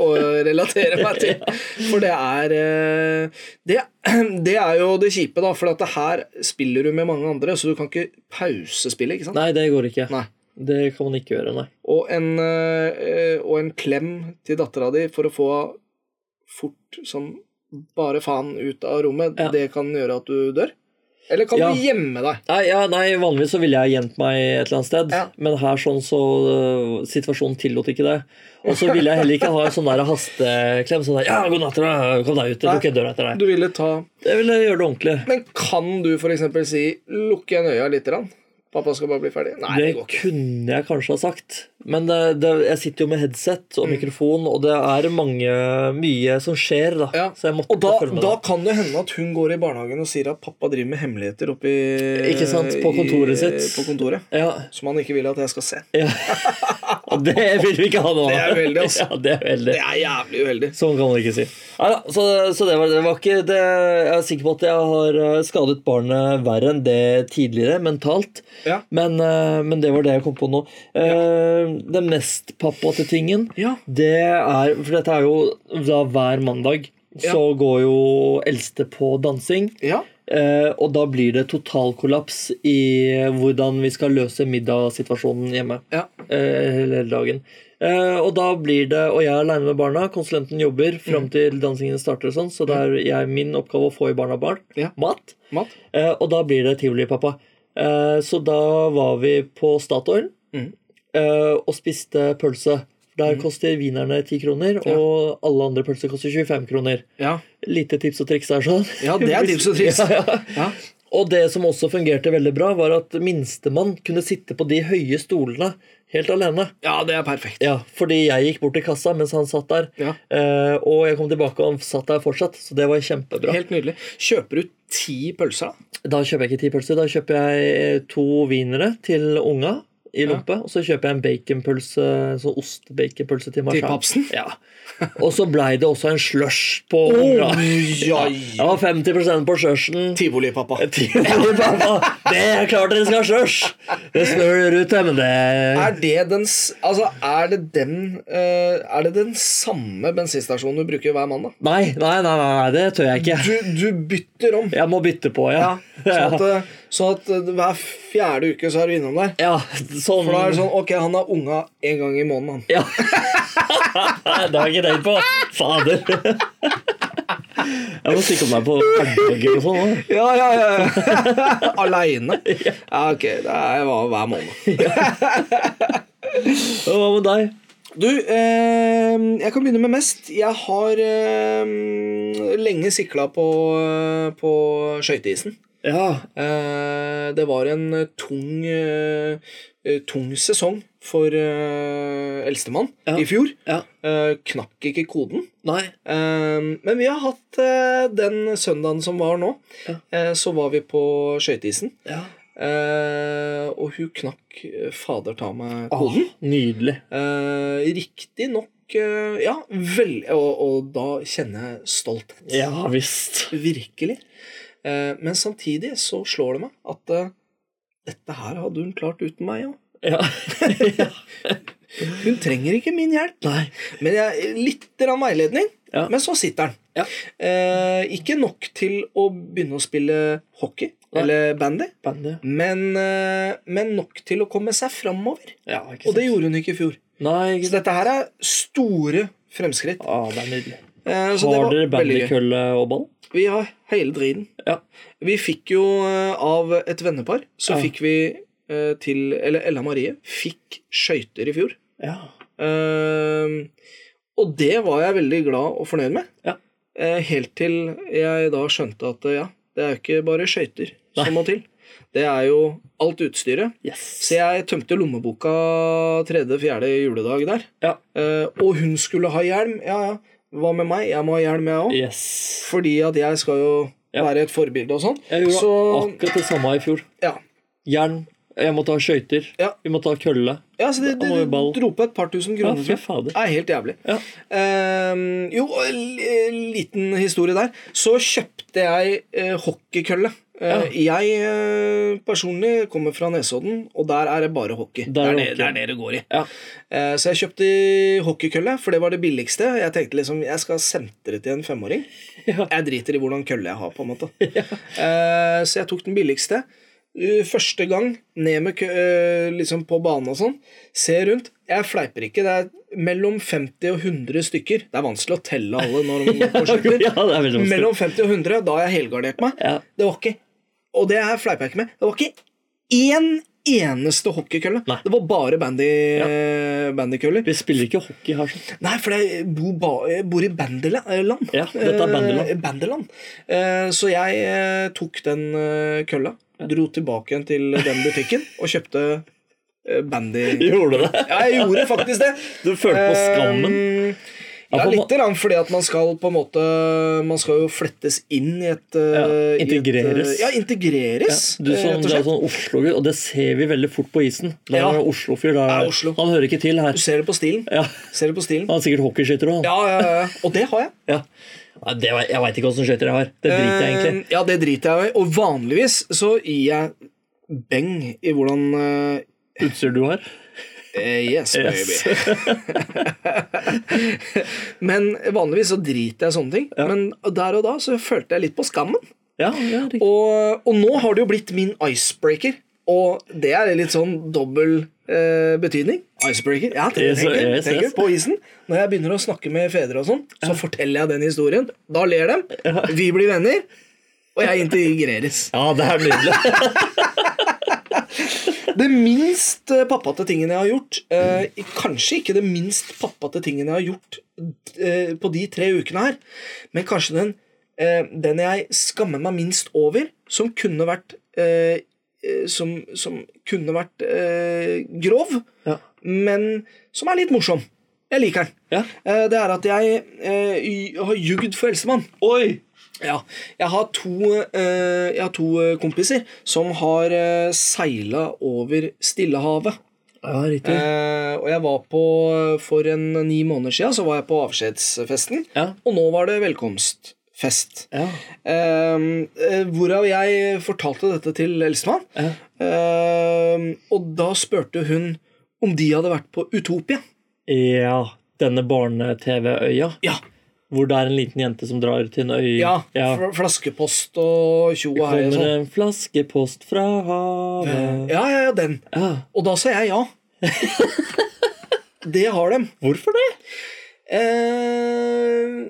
Speaker 1: å relatere meg til. For det er eh, det, det er jo det kjipe, da. For at det her spiller du med mange andre, så du kan ikke pause spillet. ikke sant?
Speaker 2: Nei, det går ikke.
Speaker 1: Nei.
Speaker 2: Det kan man ikke gjøre, nei.
Speaker 1: Og, en, eh, og en klem til dattera di for å få fort som bare faen ut av rommet,
Speaker 2: Ja.
Speaker 1: det kan gjøre at du dør. Eller kan
Speaker 2: Ja.
Speaker 1: du gjemme deg?
Speaker 2: Nei, ja, nei, Vanligvis så ville jeg gjemt meg et eller annet sted,
Speaker 1: Ja.
Speaker 2: men her sånn så øh, Situasjonen tillot ikke det. Og så ville jeg heller ikke ha en sånn der hasteklem. Sånn der, ja, god natt, da, kom deg ut, jeg
Speaker 1: Nei.
Speaker 2: lukker døra etter deg.
Speaker 1: Du ville ta
Speaker 2: Jeg ville gjøre det ordentlig.
Speaker 1: Men kan du f.eks. si 'lukk igjen øya lite grann'? Pappa skal bare bli ferdig. Nei, det
Speaker 2: Det
Speaker 1: går ikke.
Speaker 2: kunne jeg kanskje ha sagt, men det, det, jeg sitter jo med headset
Speaker 1: Mm.
Speaker 2: og mikrofon, og det er mange, mye som skjer, da.
Speaker 1: Ja.
Speaker 2: Så jeg måtte
Speaker 1: Og da,
Speaker 2: følge med.
Speaker 1: da
Speaker 2: Da.
Speaker 1: kan det hende at hun går i barnehagen og sier at pappa driver med hemmeligheter oppi
Speaker 2: Ikke sant, på kontoret sitt.
Speaker 1: På kontoret.
Speaker 2: Ja,
Speaker 1: Som han ikke vil at jeg skal se.
Speaker 2: ja. Og det vil vi ikke ha nå.
Speaker 1: Det er veldig, altså.
Speaker 2: Ja, det er veldig.
Speaker 1: Det er jævlig uheldig.
Speaker 2: Sånn kan man ikke si. Nei da, så, så det var, det var ikke det, Jeg er sikker på at jeg har eh, skadet barnet verre enn det tidligere, mentalt.
Speaker 1: Ja.
Speaker 2: Men, eh, men det var det jeg kom på nå. Eh, Den mest pappate tingen
Speaker 1: Ja.
Speaker 2: Det er, for dette er jo da hver mandag så går jo eldste på dansing.
Speaker 1: ja.
Speaker 2: Eh, og da blir det totalkollaps i hvordan vi skal løse middagssituasjonen hjemme.
Speaker 1: Ja.
Speaker 2: Eh, hele, hele dagen. Eh, og da blir det, og jeg er aleine med barna, konsulenten jobber fram til dansingen starter, og sånn, så det er jeg, min oppgave å få i barna barn
Speaker 1: Ja.
Speaker 2: mat.
Speaker 1: Matt?
Speaker 2: Eh, og da blir det tivoli, pappa. Eh, så da var vi på Statoil
Speaker 1: Mhm.
Speaker 2: eh, og spiste pølse.
Speaker 1: Mm.
Speaker 2: Der koster wienerne 10 kroner, og alle andre pølser koster 25 kroner.
Speaker 1: Ja.
Speaker 2: Lite tips og triks der, sånn.
Speaker 1: Ja, det er tips og triks.
Speaker 2: Ja, ja.
Speaker 1: Ja.
Speaker 2: Og det som også fungerte veldig bra, var at minstemann kunne sitte på de høye stolene helt alene.
Speaker 1: ja, det er perfekt.
Speaker 2: Ja, Fordi jeg gikk bort til kassa mens han satt der.
Speaker 1: Ja.
Speaker 2: Eh, og jeg kom tilbake, og han satt der fortsatt. Så det var kjempebra.
Speaker 1: Helt nydelig. Kjøper du ti pølser, da?
Speaker 2: Da kjøper jeg ikke ti pølser. Da kjøper jeg eh, to wienere til unga. i lompe, og så kjøper jeg en baconpølse, sånn ost-baconpølse til meg
Speaker 1: Til
Speaker 2: selv.
Speaker 1: papsen?
Speaker 2: Ja. Og så blei det også en slush på
Speaker 1: Oi,
Speaker 2: Ja,
Speaker 1: oi.
Speaker 2: det var 50 på slushen.
Speaker 1: Tivolipappa.
Speaker 2: Det er klart dere skal ha slush! Det snør ute, men det
Speaker 1: Er det den s- Altså, er det den eh, Er det den samme bensinstasjonen du bruker hver mandag?
Speaker 2: Nei, nei, nei, nei, nei, det tør jeg ikke.
Speaker 1: Du, du bytter om.
Speaker 2: Jeg må bytte på, ja.
Speaker 1: Sånn at, eh, sånn at eh, hver fjerde uke så er du innom der.
Speaker 2: Ja, sånn
Speaker 1: For da er det sånn Ok, han har unga en gang i måneden, han.
Speaker 2: Ja. det har jeg ikke tenkt på. Fader. Jeg må stikke opp meg på pannekaker og sånn. da.
Speaker 1: Ja, ja, ja. Aleine. Ja, ok. Det er hva- hver måned.
Speaker 2: Ja, Hva med deg?
Speaker 1: Du, eh, jeg kan begynne med mest. Jeg har eh, lenge sikla på, eh, på skøyteisen.
Speaker 2: Ja.
Speaker 1: Eh, det var en eh, tung, eh, eh, tung sesong for eh, eldstemann
Speaker 2: Ja.
Speaker 1: i fjor.
Speaker 2: ja.
Speaker 1: Eh, knakk ikke koden.
Speaker 2: Nei.
Speaker 1: Eh, men vi har hatt eh, den søndagen som var nå,
Speaker 2: Ja.
Speaker 1: eh, så var vi på skøyteisen.
Speaker 2: Ja.
Speaker 1: Eh, og hun knakk eh, fader ta meg koden.
Speaker 2: Nydelig.
Speaker 1: Eh, Riktignok eh, Ja, vel og, og da kjenner jeg stolthet.
Speaker 2: Ja visst.
Speaker 1: Virkelig. Eh, men samtidig så slår det meg at eh, dette her hadde hun klart uten meg òg.
Speaker 2: Ja.
Speaker 1: Hun trenger ikke min hjelp.
Speaker 2: Nei.
Speaker 1: Men jeg, litt grann veiledning,
Speaker 2: Ja.
Speaker 1: men så sitter den.
Speaker 2: Ja.
Speaker 1: Eh, ikke nok til å begynne å spille hockey
Speaker 2: Nei.
Speaker 1: eller bandy,
Speaker 2: Bandy.
Speaker 1: men, eh, men nok til å komme seg framover.
Speaker 2: Ja, ikke sant.
Speaker 1: Og det gjorde hun ikke i fjor.
Speaker 2: Nei,
Speaker 1: Så
Speaker 2: ikke sant.
Speaker 1: dette her er store fremskritt.
Speaker 2: Å, det er nydelig.
Speaker 1: Eh, så det
Speaker 2: Har
Speaker 1: var
Speaker 2: dere
Speaker 1: veldig gøy.
Speaker 2: bandykølle og ball?
Speaker 1: Vi har hele driten.
Speaker 2: Ja.
Speaker 1: Vi fikk jo eh, av et vennepar, så
Speaker 2: Ja.
Speaker 1: fikk vi eh, til Eller Ella Marie fikk skøyter i fjor.
Speaker 2: Ja.
Speaker 1: Eh, og det var jeg veldig glad og fornøyd med.
Speaker 2: Ja.
Speaker 1: Eh, helt til jeg da skjønte at eh, ja, det er jo ikke bare skøyter
Speaker 2: Nei.
Speaker 1: som må til. Det er jo alt utstyret.
Speaker 2: Yes.
Speaker 1: Så jeg tømte lommeboka tredje-fjerde juledag der.
Speaker 2: Ja.
Speaker 1: Eh, og hun skulle ha hjelm. Ja, ja. Hva med meg? Jeg må ha hjelm, jeg òg.
Speaker 2: Yes.
Speaker 1: Fordi at jeg skal jo
Speaker 2: Ja.
Speaker 1: være et forbilde og sånn.
Speaker 2: Jeg gjorde
Speaker 1: Så
Speaker 2: akkurat det samme i fjor.
Speaker 1: ja.
Speaker 2: Jern. Jeg måtte ha skøyter.
Speaker 1: Ja.
Speaker 2: Vi måtte ha kølle.
Speaker 1: ja, så det,
Speaker 2: Da
Speaker 1: det,
Speaker 2: må vi ball.
Speaker 1: dro på et par tusen
Speaker 2: Ja,
Speaker 1: kroner.
Speaker 2: fy
Speaker 1: tror jeg.
Speaker 2: fader.
Speaker 1: det er helt jævlig.
Speaker 2: Ja.
Speaker 1: Ehm, jo, og en li- liten historie der. Så kjøpte jeg eh, hockeykølle. Eh, Jeg eh, personlig kommer fra Nesodden, og der er det bare hockey.
Speaker 2: Der er
Speaker 1: det,
Speaker 2: hockey.
Speaker 1: det er det det går i.
Speaker 2: Ja.
Speaker 1: Eh, Så jeg kjøpte hockeykølle, for det var det billigste. Jeg tenkte liksom, jeg skal sentre til en femåring.
Speaker 2: Ja.
Speaker 1: Jeg driter i hvordan kølle jeg har, på en måte. Eh, Så jeg tok den billigste. Uh, Første gang, ned med kø, eh, liksom på banen og sånn, se rundt. Jeg fleiper ikke. Det er mellom 50 og 100 stykker. Det er vanskelig å telle alle når man går på skøyter.
Speaker 2: Ja, det er veldig vanskelig.
Speaker 1: Mellom 50 og 100, da har jeg helgardert meg.
Speaker 2: Ja.
Speaker 1: Det var ikke Og det her fleiper jeg ikke med. Det var ikke én eneste hockeykølle.
Speaker 2: Nei.
Speaker 1: Det var bare bandy, bandykøller.
Speaker 2: Vi spiller ikke hockey her. sånn.
Speaker 1: Nei, for jeg bor, ba, jeg bor i bandyland.
Speaker 2: Ja, dette er bandyland.
Speaker 1: Eh, bandyland. Eh, så jeg eh, tok den eh, kølla, dro tilbake igjen til den butikken og kjøpte eh, bandy...
Speaker 2: Gjorde du det?
Speaker 1: Ja, jeg gjorde faktisk det.
Speaker 2: Du følte på skammen?
Speaker 1: Eh,
Speaker 2: Ja,
Speaker 1: Ja,
Speaker 2: på en
Speaker 1: lite grann fordi at man skal på en måte Man skal jo flettes inn i et
Speaker 2: Ja,
Speaker 1: eh, i et, eh,
Speaker 2: integreres.
Speaker 1: Ja, integreres,
Speaker 2: Du
Speaker 1: eh,
Speaker 2: sånn,
Speaker 1: rett og
Speaker 2: det er
Speaker 1: slett.
Speaker 2: sånn Oslo-gutt, og det ser vi veldig fort på isen. Det er
Speaker 1: Ja.
Speaker 2: en Oslo-fyr. det
Speaker 1: Det
Speaker 2: er-
Speaker 1: er Oslo.
Speaker 2: Han hører ikke til her.
Speaker 1: Du ser det på stilen.
Speaker 2: Ja.
Speaker 1: Ser det på stilen.
Speaker 2: Han er sikkert hockeyskytter òg.
Speaker 1: Ja, ja, ja. Og det har jeg.
Speaker 2: Ja. Nei, det var- Jeg veit ikke åssen skøyter jeg har. Det driter jeg egentlig
Speaker 1: Eh, Ja, det driter jeg i. Og vanligvis så gir jeg beng i hvordan eh,
Speaker 2: Utstyr du har?
Speaker 1: eh, Yes, baby.
Speaker 2: Yes.
Speaker 1: Men vanligvis så driter jeg i sånne ting. Men der og da så følte jeg litt på skammen.
Speaker 2: Ja, ja, riktig.
Speaker 1: Og, og nå har det jo blitt min icebreaker, og det er litt sånn dobbel eh, betydning. Icebreaker. Ja, tenker,
Speaker 2: Yes,
Speaker 1: tenker,
Speaker 2: yes,
Speaker 1: tenker
Speaker 2: yes.
Speaker 1: på isen. Når jeg begynner å snakke med fedre og sånn, så forteller jeg den historien. Da ler de, vi blir venner, og jeg integreres.
Speaker 2: ja det er nydelig.
Speaker 1: Det minst eh, pappate tingen jeg har gjort, eh, i- kanskje ikke det minst pappate tingen jeg har gjort eh, på de tre ukene her, men kanskje den, eh, den jeg skammer meg minst over, som kunne vært eh, eh, som, som kunne vært eh, grov,
Speaker 2: Ja.
Speaker 1: men som er litt morsom. Jeg liker den.
Speaker 2: Ja.
Speaker 1: Eh, det er at jeg eh, y- har jugd for eldstemann.
Speaker 2: Oi!
Speaker 1: Ja. Jeg har to, eh, jeg har to eh, kompiser som har eh, seila over Stillehavet.
Speaker 2: Ja, riktig.
Speaker 1: Eh, og jeg var på, For en ni måneder siden så var jeg på avskjedsfesten.
Speaker 2: Ja.
Speaker 1: Og nå var det velkomstfest.
Speaker 2: Ja.
Speaker 1: Ehm, eh, hvorav jeg fortalte dette til eldstemann.
Speaker 2: Ja.
Speaker 1: Ehm, og da spurte hun om de hadde vært på Utopia.
Speaker 2: ja. Denne barne-TV-øya,
Speaker 1: Ja,
Speaker 2: hvor det er en liten jente som drar til en øy.
Speaker 1: ja,
Speaker 2: ja.
Speaker 1: fl- Flaskepost og tjo og hei og
Speaker 2: Kommer
Speaker 1: sånn. Eh.
Speaker 2: en flaskepost fra havet
Speaker 1: Ja, ja, ja, den.
Speaker 2: ja.
Speaker 1: Og da sa jeg ja. Det har dem.
Speaker 2: Hvorfor det?
Speaker 1: Ehm,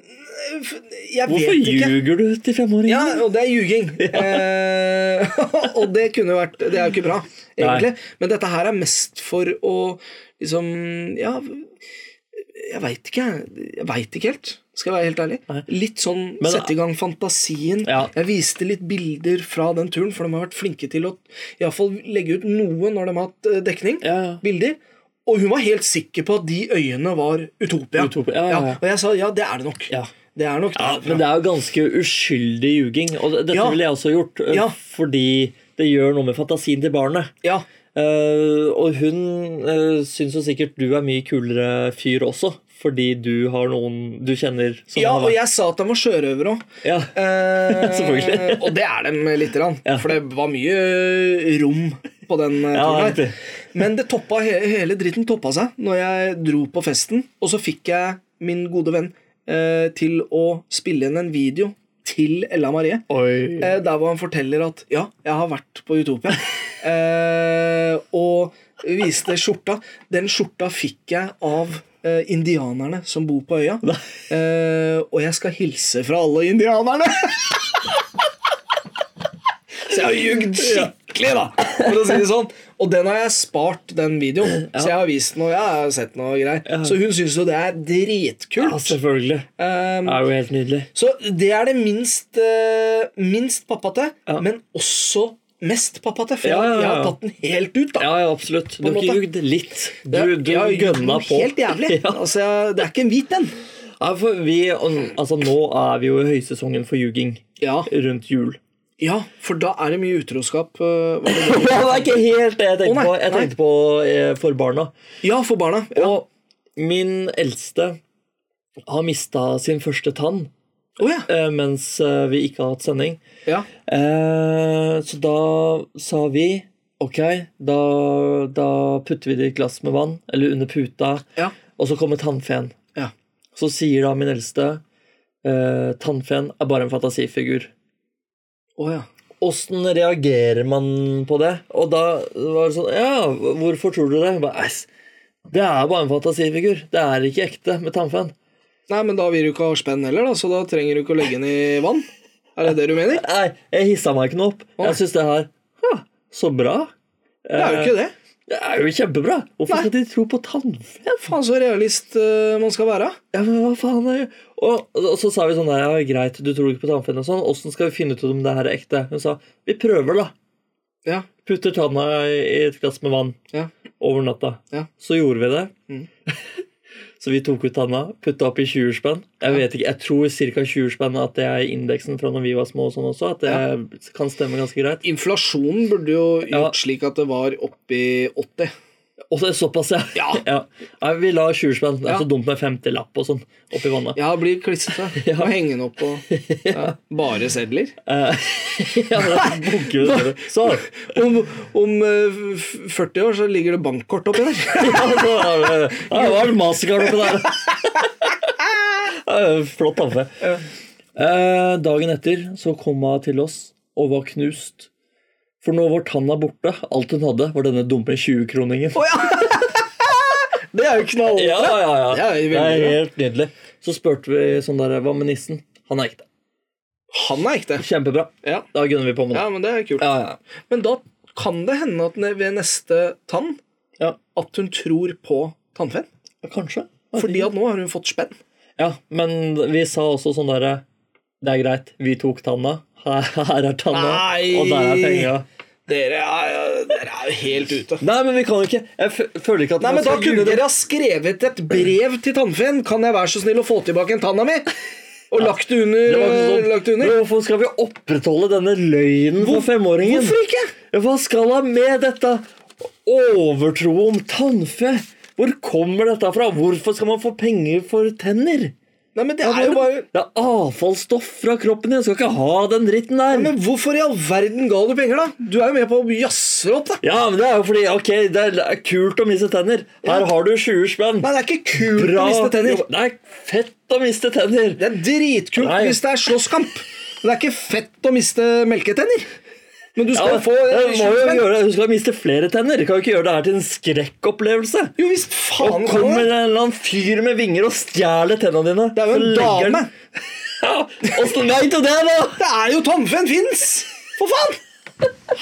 Speaker 1: f- jeg
Speaker 2: Hvorfor
Speaker 1: vet ikke.
Speaker 2: ljuger du til femåringen?
Speaker 1: Ja, og det er ljuging. Eh, og det kunne jo vært Det er jo ikke bra, egentlig. Men dette her er mest for å liksom Ja, jeg veit ikke. jeg. Jeg veit ikke helt. Skal jeg være helt ærlig.
Speaker 2: Nei.
Speaker 1: Litt sånn
Speaker 2: Men-
Speaker 1: sette i gang fantasien.
Speaker 2: Ja.
Speaker 1: Jeg viste litt bilder fra den turen, for de har vært flinke til å i alle fall legge ut noe når de har hatt eh, dekning.
Speaker 2: Ja.
Speaker 1: Bilder. Og hun var helt sikker på at de øyene var Utopia.
Speaker 2: Utopia, ja, ja, ja.
Speaker 1: og jeg sa ja, det er det nok.
Speaker 2: Ja.
Speaker 1: Det er nok
Speaker 2: Ja,
Speaker 1: derfra.
Speaker 2: men det er jo ganske uskyldig ljuging, og det- dette
Speaker 1: Ja.
Speaker 2: ville jeg også gjort. øh,
Speaker 1: Ja.
Speaker 2: Fordi det gjør noe med fantasien til barnet.
Speaker 1: ja.
Speaker 2: Eh, og hun uh, syns jo sikkert du er mye kulere fyr også, fordi du har noen du kjenner som
Speaker 1: Ja,
Speaker 2: har
Speaker 1: og jeg sa at de var sjørøvere òg.
Speaker 2: Ja.
Speaker 1: Eh,
Speaker 2: Selvfølgelig.
Speaker 1: og det er dem lite grann.
Speaker 2: Ja.
Speaker 1: For det var mye eh, rom på den eh,
Speaker 2: Ja,
Speaker 1: turen.
Speaker 2: riktig.
Speaker 1: her. Men det toppa, he- hele dritten toppa seg når jeg dro på festen. Og så fikk jeg min gode venn eh, til å spille inn en video til Ella Marie.
Speaker 2: Oi.
Speaker 1: Eh, der hvor han forteller at ja, jeg har vært på Utopia. eh, og viste skjorta. Den skjorta fikk jeg av eh, indianerne som bor på øya. Eh, og jeg skal hilse fra alle indianerne! Så jeg har jugd skikkelig, da, for å si det sånn. Og den har jeg spart, den videoen. Så jeg har vist den, og jeg har sett noe greier. Så hun syns jo det er
Speaker 2: Ja,
Speaker 1: dritkult.
Speaker 2: selvfølgelig.
Speaker 1: Um,
Speaker 2: Det er jo helt nydelig.
Speaker 1: så det er det minst, eh, minst pappate,
Speaker 2: Ja.
Speaker 1: men også mest pappate. For
Speaker 2: Ja, ja, ja.
Speaker 1: jeg har tatt den helt ut, da.
Speaker 2: Ja, ja, absolutt. Du
Speaker 1: en
Speaker 2: har ikke
Speaker 1: måte.
Speaker 2: jugd litt. Du,
Speaker 1: Jeg-
Speaker 2: du
Speaker 1: jeg har gjort
Speaker 2: gønna
Speaker 1: noe
Speaker 2: på.
Speaker 1: Helt jævlig.
Speaker 2: Ja.
Speaker 1: Altså, jeg- det er ikke en hvit en.
Speaker 2: Ja, for vi, altså, nå er vi jo i høysesongen for ljuging
Speaker 1: Ja.
Speaker 2: rundt jul.
Speaker 1: ja, for da er det mye utroskap. eh, var det det?
Speaker 2: Ja, det er ikke helt
Speaker 1: Å,
Speaker 2: det jeg tenkte
Speaker 1: nei,
Speaker 2: på. Jeg
Speaker 1: nei.
Speaker 2: tenkte på eh, for barna.
Speaker 1: Ja, for barna. Ja.
Speaker 2: Og min eldste har mista sin første tann
Speaker 1: Å, ja.
Speaker 2: eh, mens eh, vi ikke har hatt sending.
Speaker 1: ja.
Speaker 2: Eh, så da sa vi OK, da, da putter vi det i et glass med vann, eller under puta,
Speaker 1: Ja.
Speaker 2: og så kommer tannfeen.
Speaker 1: Ja.
Speaker 2: Så sier da min eldste eh, tannfeen er bare en fantasifigur.
Speaker 1: Å, ja.
Speaker 2: Åssen reagerer man på det? Og da var det sånn Ja, hvorfor tror du det? Jeg Bare, «Eis, det er bare en fantasifigur. Det er ikke ekte med tannfeen.
Speaker 1: Nei, men da vil du ikke ha spenn heller, da, så da trenger du ikke å legge den i vann. Er det det du mener?
Speaker 2: Nei, jeg hissa meg ikke noe opp.
Speaker 1: Nei.
Speaker 2: Jeg syns det her ha, Så bra. Eh,
Speaker 1: Det er jo ikke det.
Speaker 2: Det er jo kjempebra. Hvorfor
Speaker 1: Nei.
Speaker 2: skal de tro på tannfeen?
Speaker 1: Faen, så realist eh, man skal være.
Speaker 2: Ja, men hva faen er og, og så sa vi sånn der, ja, greit, du tror ikke på tannfeen og sånn. Åssen skal vi finne ut om det her er ekte? Hun sa vi prøver, da.
Speaker 1: Ja.
Speaker 2: Putter tanna i et glass med vann
Speaker 1: Ja.
Speaker 2: over natta.
Speaker 1: Ja.
Speaker 2: Så gjorde vi det.
Speaker 1: Mm.
Speaker 2: så vi tok ut tanna, putta opp i 20-spenn. Jeg vet ikke, jeg tror ca. 20-spenn at det er indeksen fra når vi var små og sånn også. At det kan stemme ganske greit.
Speaker 1: Inflasjonen burde jo gjort
Speaker 2: Ja.
Speaker 1: slik at det var oppi 80.
Speaker 2: Og så såpass, ja.
Speaker 1: Ja.
Speaker 2: Nei, vi la 20-spenn. Det er
Speaker 1: Ja.
Speaker 2: så dumt med 50-lapp og sånn oppi vannet.
Speaker 1: Ja, blir klissete.
Speaker 2: Ja.
Speaker 1: Og hengende opp og ja. Bare sedler.
Speaker 2: Ja, det er bunker med det. så,
Speaker 1: Om, om eh, f- 40 år så ligger det bankkort oppi der.
Speaker 2: ja, så var det, ja, det var en mastercard oppi der. Ja, Flott tannfe. Eh, dagen etter så kom hun til oss og var knust. For nå var tanna borte. Alt hun hadde, var denne dumme 20-kroningen.
Speaker 1: Det er jo knall.
Speaker 2: Ja, ja, ja.
Speaker 1: Det er jo
Speaker 2: Det
Speaker 1: veldig
Speaker 2: er
Speaker 1: bra.
Speaker 2: helt nydelig. Så spurte vi sånn der, hva med nissen? Han er ekte.
Speaker 1: Han er ekte.
Speaker 2: Kjempebra.
Speaker 1: Ja.
Speaker 2: Da gunner vi på med det.
Speaker 1: ja, men det er kult.
Speaker 2: Ja, ja.
Speaker 1: Men da kan det hende at ne- ved neste tann
Speaker 2: ja.
Speaker 1: at hun tror på tannfen.
Speaker 2: ja kanskje.
Speaker 1: Fordi at nå har hun fått spenn.
Speaker 2: Ja, men vi sa også sånn derre Det er greit, vi tok tanna. Her, her er tanna,
Speaker 1: Nei.
Speaker 2: og der er penga.
Speaker 1: Dere er, eh, dere er jo helt ute.
Speaker 2: Nei, men vi kan jo ikke Jeg f føler ikke at altså,
Speaker 1: Nei,
Speaker 2: man
Speaker 1: men Da
Speaker 2: skal
Speaker 1: kunne
Speaker 2: ljuge.
Speaker 1: dere ha skrevet et brev til tannfen. Kan jeg være så snill å få tilbake en tanna mi? Og lagt det under.
Speaker 2: Det var ikke sånn,
Speaker 1: eh, lagt det under.
Speaker 2: Men Hvorfor skal vi opprettholde denne løgnen for femåringen?
Speaker 1: Hvorfor ikke?
Speaker 2: Hva skal han med dette? Overtro om tannfe! Hvor kommer dette fra? Hvorfor skal man få penger for tenner?
Speaker 1: Nei, men det er jo bare
Speaker 2: Det er avfallsstoff fra kroppen din. Jeg skal ikke ha den dritten der.
Speaker 1: Men hvorfor i all verden ga du penger, da? Du er jo med på å jazze opp, da.
Speaker 2: Ja, men det er jo fordi Ok, det er det er kult å miste tenner. Her har du 20 spenn.
Speaker 1: Nei, det er ikke kult å miste tenner.
Speaker 2: Jo, Det er fett å miste tenner.
Speaker 1: Det er dritkult
Speaker 2: Nei.
Speaker 1: hvis det er slåsskamp. Men det er ikke fett å miste melketenner. Men du
Speaker 2: Ja,
Speaker 1: skal
Speaker 2: men
Speaker 1: få
Speaker 2: jeg må jo
Speaker 1: skyldspeng.
Speaker 2: gjøre, Hun skal miste flere tenner. Kan jo ikke gjøre det her til en skrekkopplevelse.
Speaker 1: Jo visst
Speaker 2: Og
Speaker 1: faen kan
Speaker 2: kommer
Speaker 1: det.
Speaker 2: det en eller annen fyr med vinger og stjeler tennene dine.
Speaker 1: Det er jo
Speaker 2: Så
Speaker 1: en
Speaker 2: legger
Speaker 1: dame.
Speaker 2: den- Ja, Åssen veit du det, da?
Speaker 1: Det er jo tannfen fins! For faen!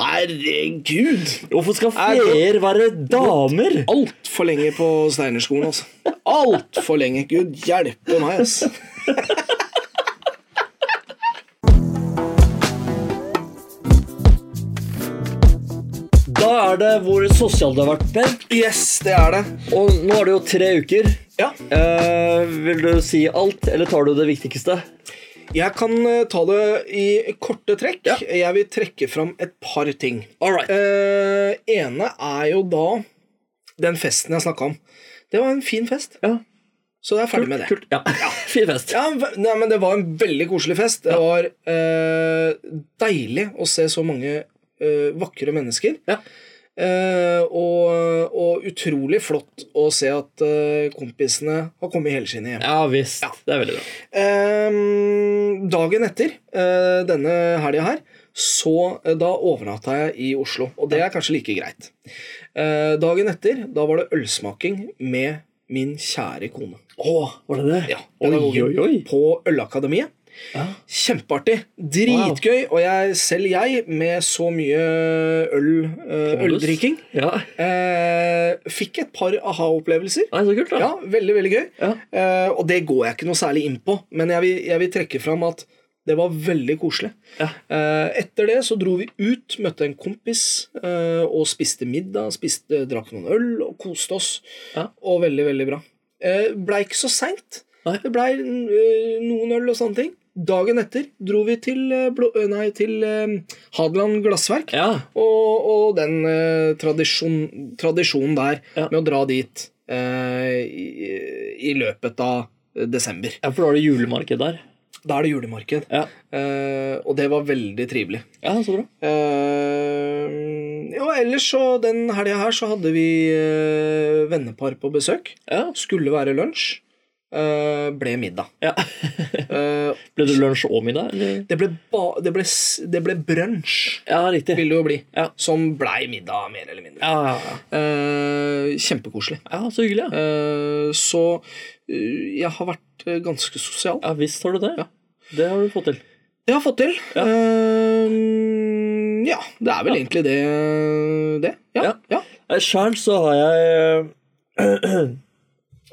Speaker 1: Herregud.
Speaker 2: Hvorfor skal
Speaker 1: Er det-
Speaker 2: feer være damer?
Speaker 1: Altfor lenge på Steinerskolen, altså. Altfor lenge. Gud hjelpe meg, altså.
Speaker 2: Da er det hvor sosial du har vært, Per.
Speaker 1: Yes, det er det.
Speaker 2: Og nå er det jo tre uker.
Speaker 1: Ja.
Speaker 2: Eh, vil du si alt, eller tar du det viktigste?
Speaker 1: Jeg kan eh, ta det i korte trekk. Jeg vil trekke fram et par ting.
Speaker 2: All right.
Speaker 1: Eh, ene er jo da den festen jeg snakka om. Det var en fin fest,
Speaker 2: Ja,
Speaker 1: så jeg er ferdig med det.
Speaker 2: kult. Ja. Fin fest.
Speaker 1: Ja, v- nei, men Det var en veldig koselig fest. Det var eh, deilig å se så mange eh, vakre mennesker.
Speaker 2: Ja.
Speaker 1: Eh, og, og utrolig flott å se at eh, kompisene har kommet helskinnet hjem.
Speaker 2: Ja visst. Det er veldig bra.
Speaker 1: Ehm, dagen etter eh, denne helga her, så eh, da overnatta jeg i Oslo. Og det er kanskje like greit. Eh, dagen etter, da var det ølsmaking med min kjære kone.
Speaker 2: Å, var det det?
Speaker 1: Ja,
Speaker 2: Oi, oi,
Speaker 1: pedagogen
Speaker 2: oi.
Speaker 1: På Ølakademiet.
Speaker 2: Ja.
Speaker 1: Kjempeartig. Dritgøy. Og jeg, selv jeg, med så mye øl, eh, øldrikking,
Speaker 2: Ja.
Speaker 1: eh, fikk et par aha-opplevelser.
Speaker 2: Nei, så kult, da.
Speaker 1: Ja, veldig, veldig gøy.
Speaker 2: Ja.
Speaker 1: Eh, og det går jeg ikke noe særlig inn på, men jeg vil, jeg vil trekke fram at det var veldig koselig.
Speaker 2: Ja.
Speaker 1: Eh, etter det så dro vi ut, møtte en kompis eh, og spiste middag, spiste, drakk noen øl og koste oss.
Speaker 2: Ja.
Speaker 1: Og veldig, veldig bra. Eh, blei ikke så seint.
Speaker 2: Nei.
Speaker 1: Det blei eh, noen øl og sånne ting. Dagen etter dro vi til, eh, blå, eh, nei, til eh, Hadeland Glassverk.
Speaker 2: Ja.
Speaker 1: Og, og den eh, tradisjon, tradisjonen der
Speaker 2: Ja.
Speaker 1: med å dra dit eh, i, i løpet av eh, desember.
Speaker 2: ja, for da er det julemarked der.
Speaker 1: Da er det julemarked.
Speaker 2: Ja.
Speaker 1: Eh, og det var veldig trivelig.
Speaker 2: ja, så bra.
Speaker 1: Eh, og ellers så den helga her så hadde vi eh, vennepar på besøk.
Speaker 2: Ja.
Speaker 1: Skulle være lunsj. eh, ble middag.
Speaker 2: ja.
Speaker 1: Eh,
Speaker 2: Ble det lunsj og middag? Eller?
Speaker 1: det ble, ba- det ble, s- det ble brunsj,
Speaker 2: Ja, riktig.
Speaker 1: vil det jo bli.
Speaker 2: Ja.
Speaker 1: Som blei middag, mer eller mindre.
Speaker 2: Ja, ja, ja.
Speaker 1: Eh, kjempekoselig.
Speaker 2: ja så hyggelig. Ja.
Speaker 1: Eh, så eh, jeg har vært eh, ganske sosial.
Speaker 2: ja visst har du det. Det har du fått til.
Speaker 1: Det har jeg fått til.
Speaker 2: Ja.
Speaker 1: Eh, ja, det er vel
Speaker 2: Ja.
Speaker 1: egentlig det. det. Ja,
Speaker 2: Ja.
Speaker 1: ja.
Speaker 2: Sjøl Eh, så har jeg eh,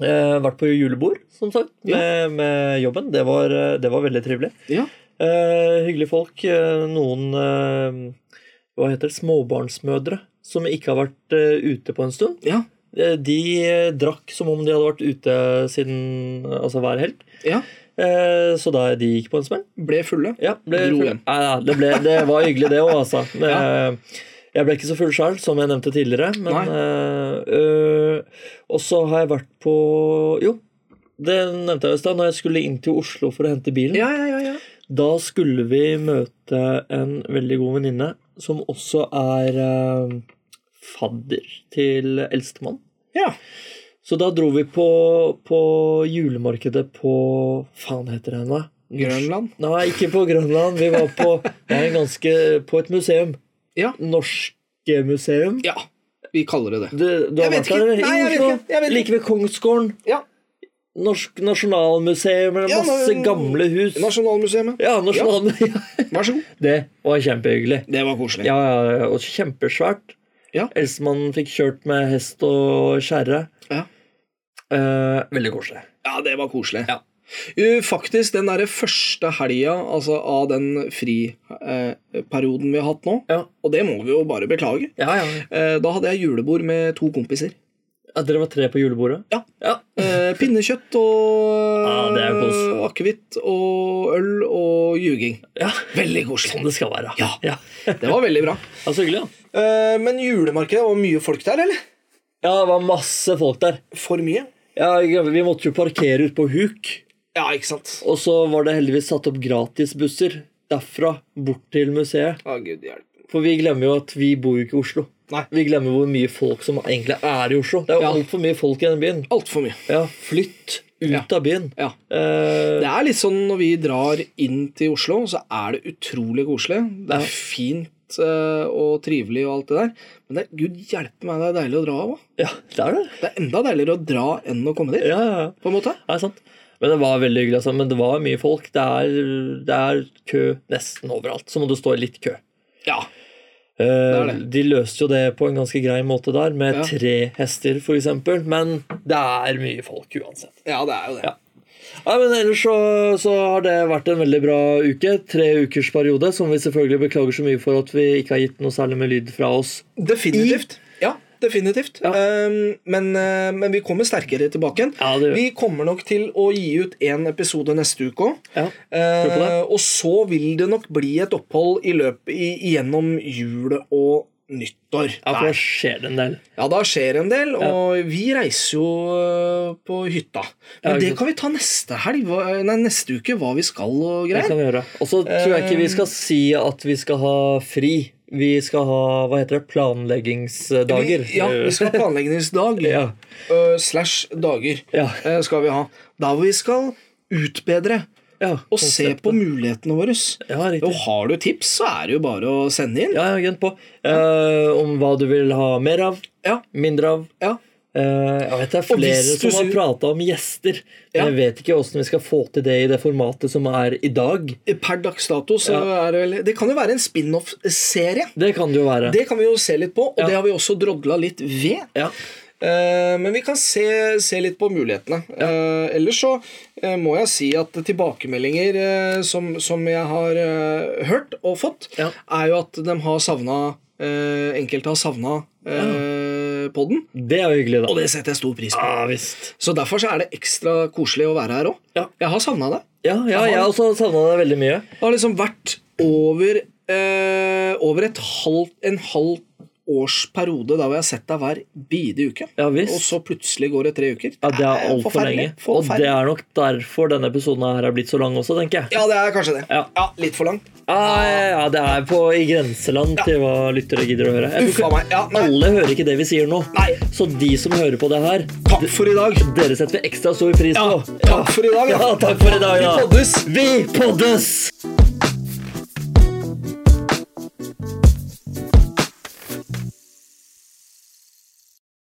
Speaker 2: eh, vært på julebord, som sagt,
Speaker 1: Ja.
Speaker 2: med, med jobben. Det var, eh, det var veldig trivelig.
Speaker 1: ja.
Speaker 2: Eh, hyggelige folk. Eh, noen eh, hva heter det, småbarnsmødre som ikke har vært eh, ute på en stund.
Speaker 1: ja.
Speaker 2: Eh, de eh, drakk som om de hadde vært ute siden altså hver helg.
Speaker 1: ja.
Speaker 2: Eh, så da de gikk på en smell.
Speaker 1: Ble fulle.
Speaker 2: Ja, ble,
Speaker 1: Dro
Speaker 2: full-
Speaker 1: hjem.
Speaker 2: Nei, nei, det, ble, det var hyggelig, det òg, altså. Eh, Jeg ble ikke så full sjøl, som jeg nevnte tidligere.
Speaker 1: Nei.
Speaker 2: Men eh, øh, Og så har jeg vært på Jo, det nevnte jeg i stad. Når jeg skulle inn til Oslo for å hente bilen,
Speaker 1: Ja, ja, ja. ja.
Speaker 2: da skulle vi møte en veldig god venninne som også er eh, fadder til eldstemann.
Speaker 1: ja.
Speaker 2: Så da dro vi på, på julemarkedet på Faen heter det henne?
Speaker 1: Grønland.
Speaker 2: Nei, ikke på Grønland. Vi var på, det er en ganske, på et museum.
Speaker 1: Ja.
Speaker 2: Norske museum.
Speaker 1: ja. Vi kaller det det.
Speaker 2: Du, du
Speaker 1: Jeg
Speaker 2: har
Speaker 1: vet
Speaker 2: vært der?
Speaker 1: ikke.
Speaker 2: eller?
Speaker 1: Nei, jeg
Speaker 2: I
Speaker 1: vet
Speaker 2: Oslo.
Speaker 1: ikke. Jeg vet ikke.
Speaker 2: Like ved Kongsgården.
Speaker 1: Ja.
Speaker 2: Norsk Nasjonalmuseum. eller
Speaker 1: Ja,
Speaker 2: Masse
Speaker 1: nå-
Speaker 2: gamle hus.
Speaker 1: Nasjonalmuseet.
Speaker 2: Ja, nasjonalmuseum.
Speaker 1: Vær så god.
Speaker 2: Det var kjempehyggelig.
Speaker 1: Det var koselig.
Speaker 2: Ja, ja, ja, og kjempesvært.
Speaker 1: Ja.
Speaker 2: Eldstemann fikk kjørt med hest og kjerre.
Speaker 1: Ja.
Speaker 2: Eh, veldig koselig.
Speaker 1: Ja, det var koselig.
Speaker 2: Ja.
Speaker 1: Jo, Faktisk, den derre første helga altså, av den friperioden vi har hatt nå,
Speaker 2: Ja.
Speaker 1: og det må vi jo bare beklage
Speaker 2: Ja, ja.
Speaker 1: eh, Da hadde jeg julebord med to kompiser.
Speaker 2: At dere var tre på julebordet?
Speaker 1: Ja.
Speaker 2: ja.
Speaker 1: Eh, pinnekjøtt og
Speaker 2: Ja, det er kos.
Speaker 1: eh, akevitt og øl og ljuging.
Speaker 2: Ja.
Speaker 1: Veldig koselig.
Speaker 2: Som det skal være.
Speaker 1: Ja.
Speaker 2: ja.
Speaker 1: Det var veldig bra.
Speaker 2: Ja, Så hyggelig, da.
Speaker 1: Eh, men julemarkedet var mye folk der, eller?
Speaker 2: Ja, det var masse folk der.
Speaker 1: For mye?
Speaker 2: Ja, vi måtte jo parkere ute på huk.
Speaker 1: Ja, ikke sant?
Speaker 2: Og så var det heldigvis satt opp gratisbusser derfra bort til museet.
Speaker 1: Å, gud hjelpe.
Speaker 2: For vi glemmer jo at vi bor jo ikke i Oslo.
Speaker 1: Nei.
Speaker 2: Vi glemmer hvor mye folk som egentlig er i Oslo. Det er jo
Speaker 1: Ja.
Speaker 2: altfor mye folk i denne byen.
Speaker 1: Altfor mye.
Speaker 2: Ja, flytt ut
Speaker 1: Ja.
Speaker 2: av byen.
Speaker 1: Ja.
Speaker 2: Eh,
Speaker 1: Det er litt sånn når vi drar inn til Oslo, så er det utrolig koselig. Det
Speaker 2: Ja.
Speaker 1: er fint eh, og trivelig og alt det der. Men det, er- gud hjelpe meg, det er deilig å dra av òg.
Speaker 2: ja, det er det.
Speaker 1: Det er enda deiligere å dra enn å komme dit,
Speaker 2: Ja, ja, ja.
Speaker 1: på en måte.
Speaker 2: Det er sant. Men det var veldig hyggelig. Altså. Men det var mye folk. Det er, det er kø nesten overalt. Så må du stå i litt kø.
Speaker 1: Ja.
Speaker 2: Eh,
Speaker 1: er det.
Speaker 2: De løste jo det på en ganske grei måte der, med
Speaker 1: Ja.
Speaker 2: tre hester f.eks. Men det er mye folk uansett.
Speaker 1: Ja, det er jo det.
Speaker 2: Ja. Nei, men Ellers så, så har det vært en veldig bra uke. Tre ukers periode, som vi selvfølgelig beklager så mye for at vi ikke har gitt noe særlig med lyd fra oss.
Speaker 1: Definitivt. Ja, definitivt.
Speaker 2: Ja.
Speaker 1: Ehm, men, eh, men vi kommer sterkere tilbake igjen.
Speaker 2: Ja, det gjør vi.
Speaker 1: vi kommer nok til å gi ut én episode neste uke òg.
Speaker 2: Ja, tror på det.
Speaker 1: og så vil det nok bli et opphold i løpet i, gjennom jul og nyttår.
Speaker 2: Ja,
Speaker 1: Der.
Speaker 2: for da skjer det en del.
Speaker 1: ja, da skjer en del, og vi reiser jo eh, på hytta. Men
Speaker 2: Ja, ikke
Speaker 1: det
Speaker 2: sant.
Speaker 1: kan vi ta neste helg. hva- Nei, neste uke, hva vi skal og
Speaker 2: Det
Speaker 1: greier.
Speaker 2: kan vi gjøre. Og så tror jeg ikke vi
Speaker 1: Eh.
Speaker 2: skal si at vi skal ha fri. Vi skal ha hva heter det, planleggingsdager.
Speaker 1: Vi, ja, vi skal ha planleggingsdag.
Speaker 2: ja.
Speaker 1: eh, slash dager
Speaker 2: Ja.
Speaker 1: eh, skal vi ha. Der hvor vi skal utbedre
Speaker 2: Ja,
Speaker 1: og se på mulighetene våre.
Speaker 2: Ja, riktig.
Speaker 1: Og har du tips, så er det jo bare å sende inn.
Speaker 2: Ja, ja, gønn på. Eh, om hva du vil ha mer av,
Speaker 1: Ja.
Speaker 2: mindre av.
Speaker 1: Ja.
Speaker 2: Eh, jeg vet det er
Speaker 1: Og
Speaker 2: flere
Speaker 1: hvis du
Speaker 2: som har
Speaker 1: sy-
Speaker 2: prata om gjester, men
Speaker 1: Ja.
Speaker 2: jeg vet ikke åssen vi skal få til det i det formatet som er i dag.
Speaker 1: Per dags dato så er det vel Det kan jo være en spin-off-serie.
Speaker 2: Det kan det jo være.
Speaker 1: Det kan vi jo se litt på, og
Speaker 2: Ja.
Speaker 1: det har vi også drodla litt ved.
Speaker 2: Ja.
Speaker 1: Eh, Men vi kan se, se litt på mulighetene. Eh, Ellers så eh, må jeg si at tilbakemeldinger eh, som, som jeg har eh, hørt og fått,
Speaker 2: Ja.
Speaker 1: er jo at de har savna Enkelte har savna podden,
Speaker 2: Det er jo hyggelig, da.
Speaker 1: og det setter jeg stor pris på.
Speaker 2: Ja visst.
Speaker 1: Så derfor så er det ekstra koselig å være her òg.
Speaker 2: Ja.
Speaker 1: Jeg har savna det.
Speaker 2: Ja, ja, jeg har også savna deg veldig mye.
Speaker 1: Det har liksom vært over, eh, over et halvt, en halv års periode der hvor jeg har sett deg hver bidige uke.
Speaker 2: Ja visst.
Speaker 1: Og så plutselig går det tre uker.
Speaker 2: Ja, Det er altfor
Speaker 1: Forferdelig.
Speaker 2: lenge. Og
Speaker 1: Forferdelig.
Speaker 2: det er nok derfor denne episoden her er blitt så lang også, tenker jeg.
Speaker 1: Ja, det er kanskje det.
Speaker 2: Ja.
Speaker 1: Litt for langt.
Speaker 2: Ja, ja, ja det er på i grenseland til hva lyttere gidder å høre. Jeg
Speaker 1: Uffa
Speaker 2: tror
Speaker 1: meg. Ja,
Speaker 2: ikke-
Speaker 1: nei.
Speaker 2: Alle hører ikke det vi sier nå.
Speaker 1: Nei.
Speaker 2: Så de som hører på det her,
Speaker 1: Takk for i dag.
Speaker 2: dere setter vi ekstra stor pris
Speaker 1: Ja,
Speaker 2: på.
Speaker 1: takk for i dag, da.
Speaker 2: Ja, takk for i dag, da.
Speaker 1: Vi poddes.
Speaker 2: Vi poddes!